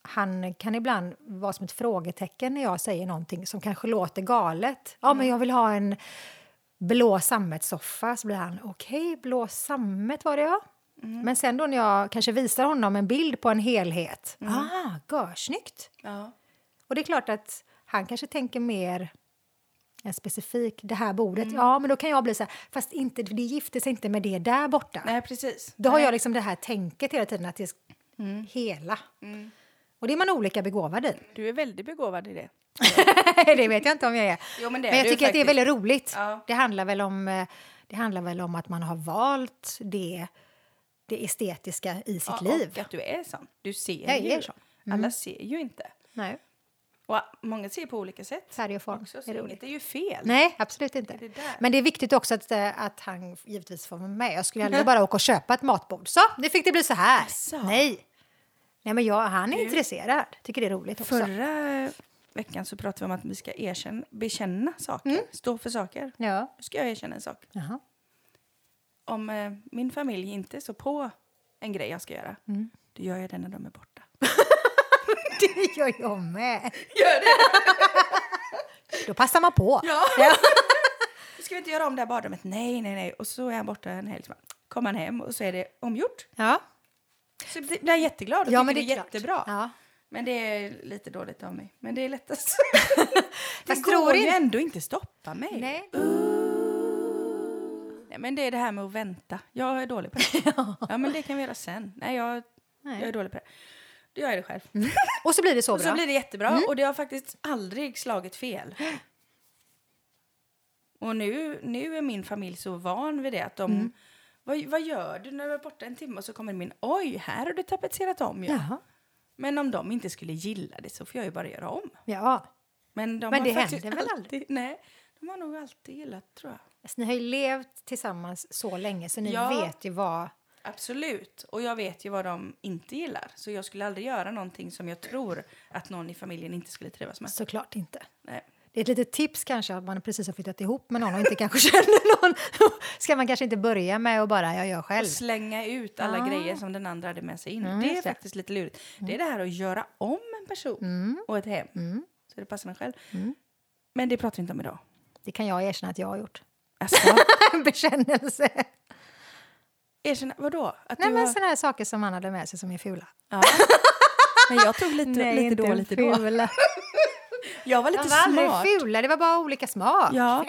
B: han kan ibland vara som ett frågetecken när jag säger någonting som kanske låter galet. Ja, men jag vill ha en blå sammetssoffa. Så blir han, okej, blå sammet var det ja. Men sen då när jag kanske visar honom en bild på en helhet. Ah, görsnyggt!
A: Ja.
B: Och det är klart att han kanske tänker mer en specifik, det här bordet. Ja, men då kan jag bli så här, fast inte, det gifter sig inte med det där borta.
A: Nej, precis.
B: Då har jag liksom det här tänket hela tiden, att det är
A: Mm.
B: hela. Och det är man olika
A: *laughs*
B: begåvad i.
A: Du är väldigt begåvad i det.
B: det vet jag inte om jag är.
A: Jo, men det är
B: men jag
A: du
B: tycker att det är
A: faktiskt.
B: väldigt roligt.
A: Ja.
B: Det, handlar väl om, eh, det handlar väl om att man har valt det, det estetiska i sitt
A: Ja,
B: liv.
A: Och att du är sån. Du ser
B: Jag
A: ju.
B: är sån. Mm.
A: Alla ser ju inte.
B: Nej,
A: Och många ser på olika sätt.
B: färg och form.
A: Också, så
B: är roligt.
A: inget är ju fel.
B: Nej, absolut inte.
A: Det är där.
B: men det är viktigt också att, eh, att han givetvis får vara med. Jag skulle
A: *laughs*
B: aldrig bara åka och köpa ett matbord. Så, nu fick det bli så här.
A: Asså.
B: Nej. Nej, men jag, han är intresserad. Tycker det är roligt också.
A: Förra veckan så pratade vi om att vi ska erkänna, bekänna saker,
B: Mm.
A: stå för saker.
B: Ja.
A: Nu ska jag erkänna en sak.
B: Jaha.
A: Om eh, min familj inte är så på en grej jag ska göra,
B: Mm.
A: då gör jag det när de är borta. *laughs*
B: *laughs* Det gör jag med. Då passar man på.
A: Ja. ska vi inte göra om det här badrummet? Nej, nej, nej. Och så är han borta en helg. Så bara, Kommer han hem och så är det omgjort.
B: Ja,
A: Så blir jag jätteglad och
B: Ja,
A: tycker
B: men
A: det är,
B: det är klart.
A: jättebra.
B: Ja.
A: Men det är lite dåligt av mig. Men det är lättast. *laughs* det
B: *laughs* Fast
A: går
B: tror
A: ju
B: inte-
A: ändå inte stoppa mig.
B: Nej.
A: Nej, men det är det här med att vänta. Jag är dålig på
B: *laughs*
A: det. ja. men det kan vi göra sen. Nej, jag,
B: Nej.
A: jag är dålig på det. Då gör jag det själv.
B: Och så blir det så
A: Och
B: bra. Mm.
A: så blir det jättebra. Och det har faktiskt aldrig slagit fel. *gasps* Och nu, nu är min familj så van vid det att de...
B: Mm.
A: Vad, vad gör du när du är borta en timme? Och så kommer min... Oj, här har du tapetserat om ju.
B: Jaha.
A: Men om de inte skulle gilla det så får jag ju bara göra om.
B: Ja.
A: Men, de
B: Men
A: har
B: det
A: faktiskt
B: händer väl
A: alltid, Nej, de har nog alltid gillat tror jag.
B: Alltså, ni har ju levt tillsammans så länge så ni
A: Ja.
B: vet ju vad...
A: Absolut. Och jag vet ju vad de inte gillar. Så jag skulle aldrig göra någonting som jag tror att någon i familjen inte skulle trivas med.
B: Såklart inte.
A: Nej.
B: Det är ett litet tips kanske att man precis har flyttat ihop med någon och inte kanske *laughs* känner någon. Ska man kanske inte börja med att bara jag gör själv?
A: Slänga ut alla
B: Ah.
A: grejer som den andra hade med sig in.
B: Mm,
A: det är
B: just det.
A: faktiskt lite lurigt. Det är det här att göra om en person
B: Mm.
A: och ett hem.
B: Mm.
A: Så det passar en själv.
B: Mm.
A: Men det pratar vi inte om
B: *laughs*
A: idag.
B: Det kan jag erkänna att jag har gjort. *laughs*
A: Alltså,
B: En bekännelse.
A: erkänna, vadå? Att
B: Nej
A: du
B: men alltså-
A: har-
B: sådana här saker som man hade med sig som är fula.
A: ja. Men jag tog lite, lite då,
B: en
A: lite då.
B: fula.
A: Jag var
B: De
A: lite
B: var aldrig
A: smart.
B: fula, det var bara olika smak.
A: Ja.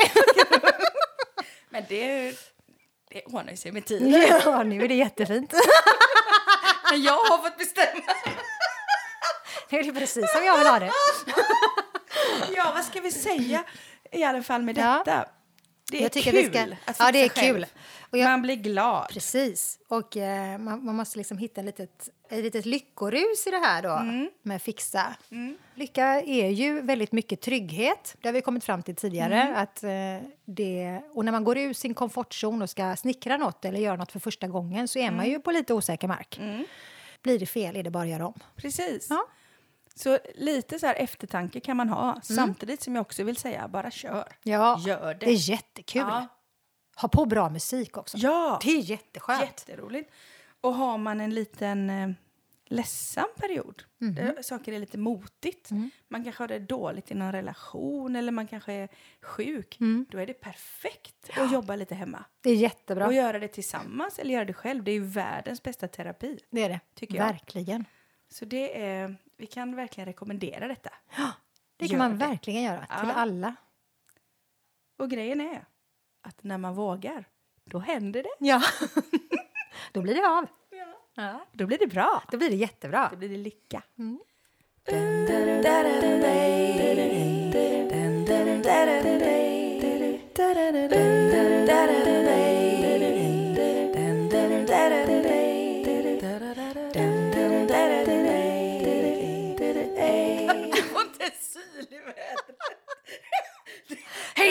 A: Men det, är ju- det ordnar ju sig med tiden.
B: *laughs* Ja, nu är det jättefint.
A: Jag har fått bestämma.
B: Nu är *laughs* det precis som jag vill ha det.
A: Ja, vad ska vi säga i alla fall med
B: Ja.
A: detta? Det är
B: jag tycker
A: kul
B: vi ska...
A: att
B: Ja, det är
A: fixa själv.
B: kul. Och jag,
A: Man blir glad.
B: precis. Och eh, man, man måste liksom hitta en litet, ett litet lyckorus i det här då,
A: Mm.
B: med fixa. Lycka är ju väldigt mycket trygghet. Det har vi kommit fram till tidigare.
A: Mm.
B: Att, eh, det, och när man går ur sin komfortzon och ska snickra något eller göra något för första gången så är
A: Mm.
B: man ju på lite osäker mark. Blir det fel är det bara att göra om.
A: Precis.
B: Ja.
A: Så lite så här eftertanke kan man ha, samtidigt som jag också vill säga, bara kör.
B: Ja,
A: Gör det.
B: det är jättekul.
A: Ja.
B: Ha på bra musik också.
A: Ja,
B: Det är jätteskönt.
A: jätteroligt. Och har man en liten eh, ledsam period, där saker är lite motigt, man kanske har det dåligt i någon relation eller man kanske är sjuk, då är det perfekt att jobba lite hemma.
B: Det är jättebra.
A: Och göra det tillsammans eller göra det själv, det är ju världens bästa terapi.
B: det är det.
A: Tycker jag.
B: Verkligen.
A: Så det är, vi kan verkligen rekommendera detta.
B: Det
A: Gör
B: kan man
A: det.
B: verkligen göra. Till
A: Ja.
B: alla.
A: Och grejen är att när man vågar, då händer det.
B: Ja. *laughs* Då blir det av.
A: Då blir det bra.
B: Då blir det jättebra.
A: Då blir det lycka.
B: *laughs* Hej,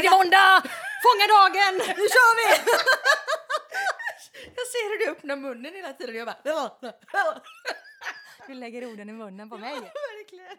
B: det är måndag! Fånga dagen! Nu kör vi!
A: *laughs* Jag ser hur du öppnar munnen hela tiden och jag bara...
B: Du lägger orden i munnen på mig.
A: Verkligen.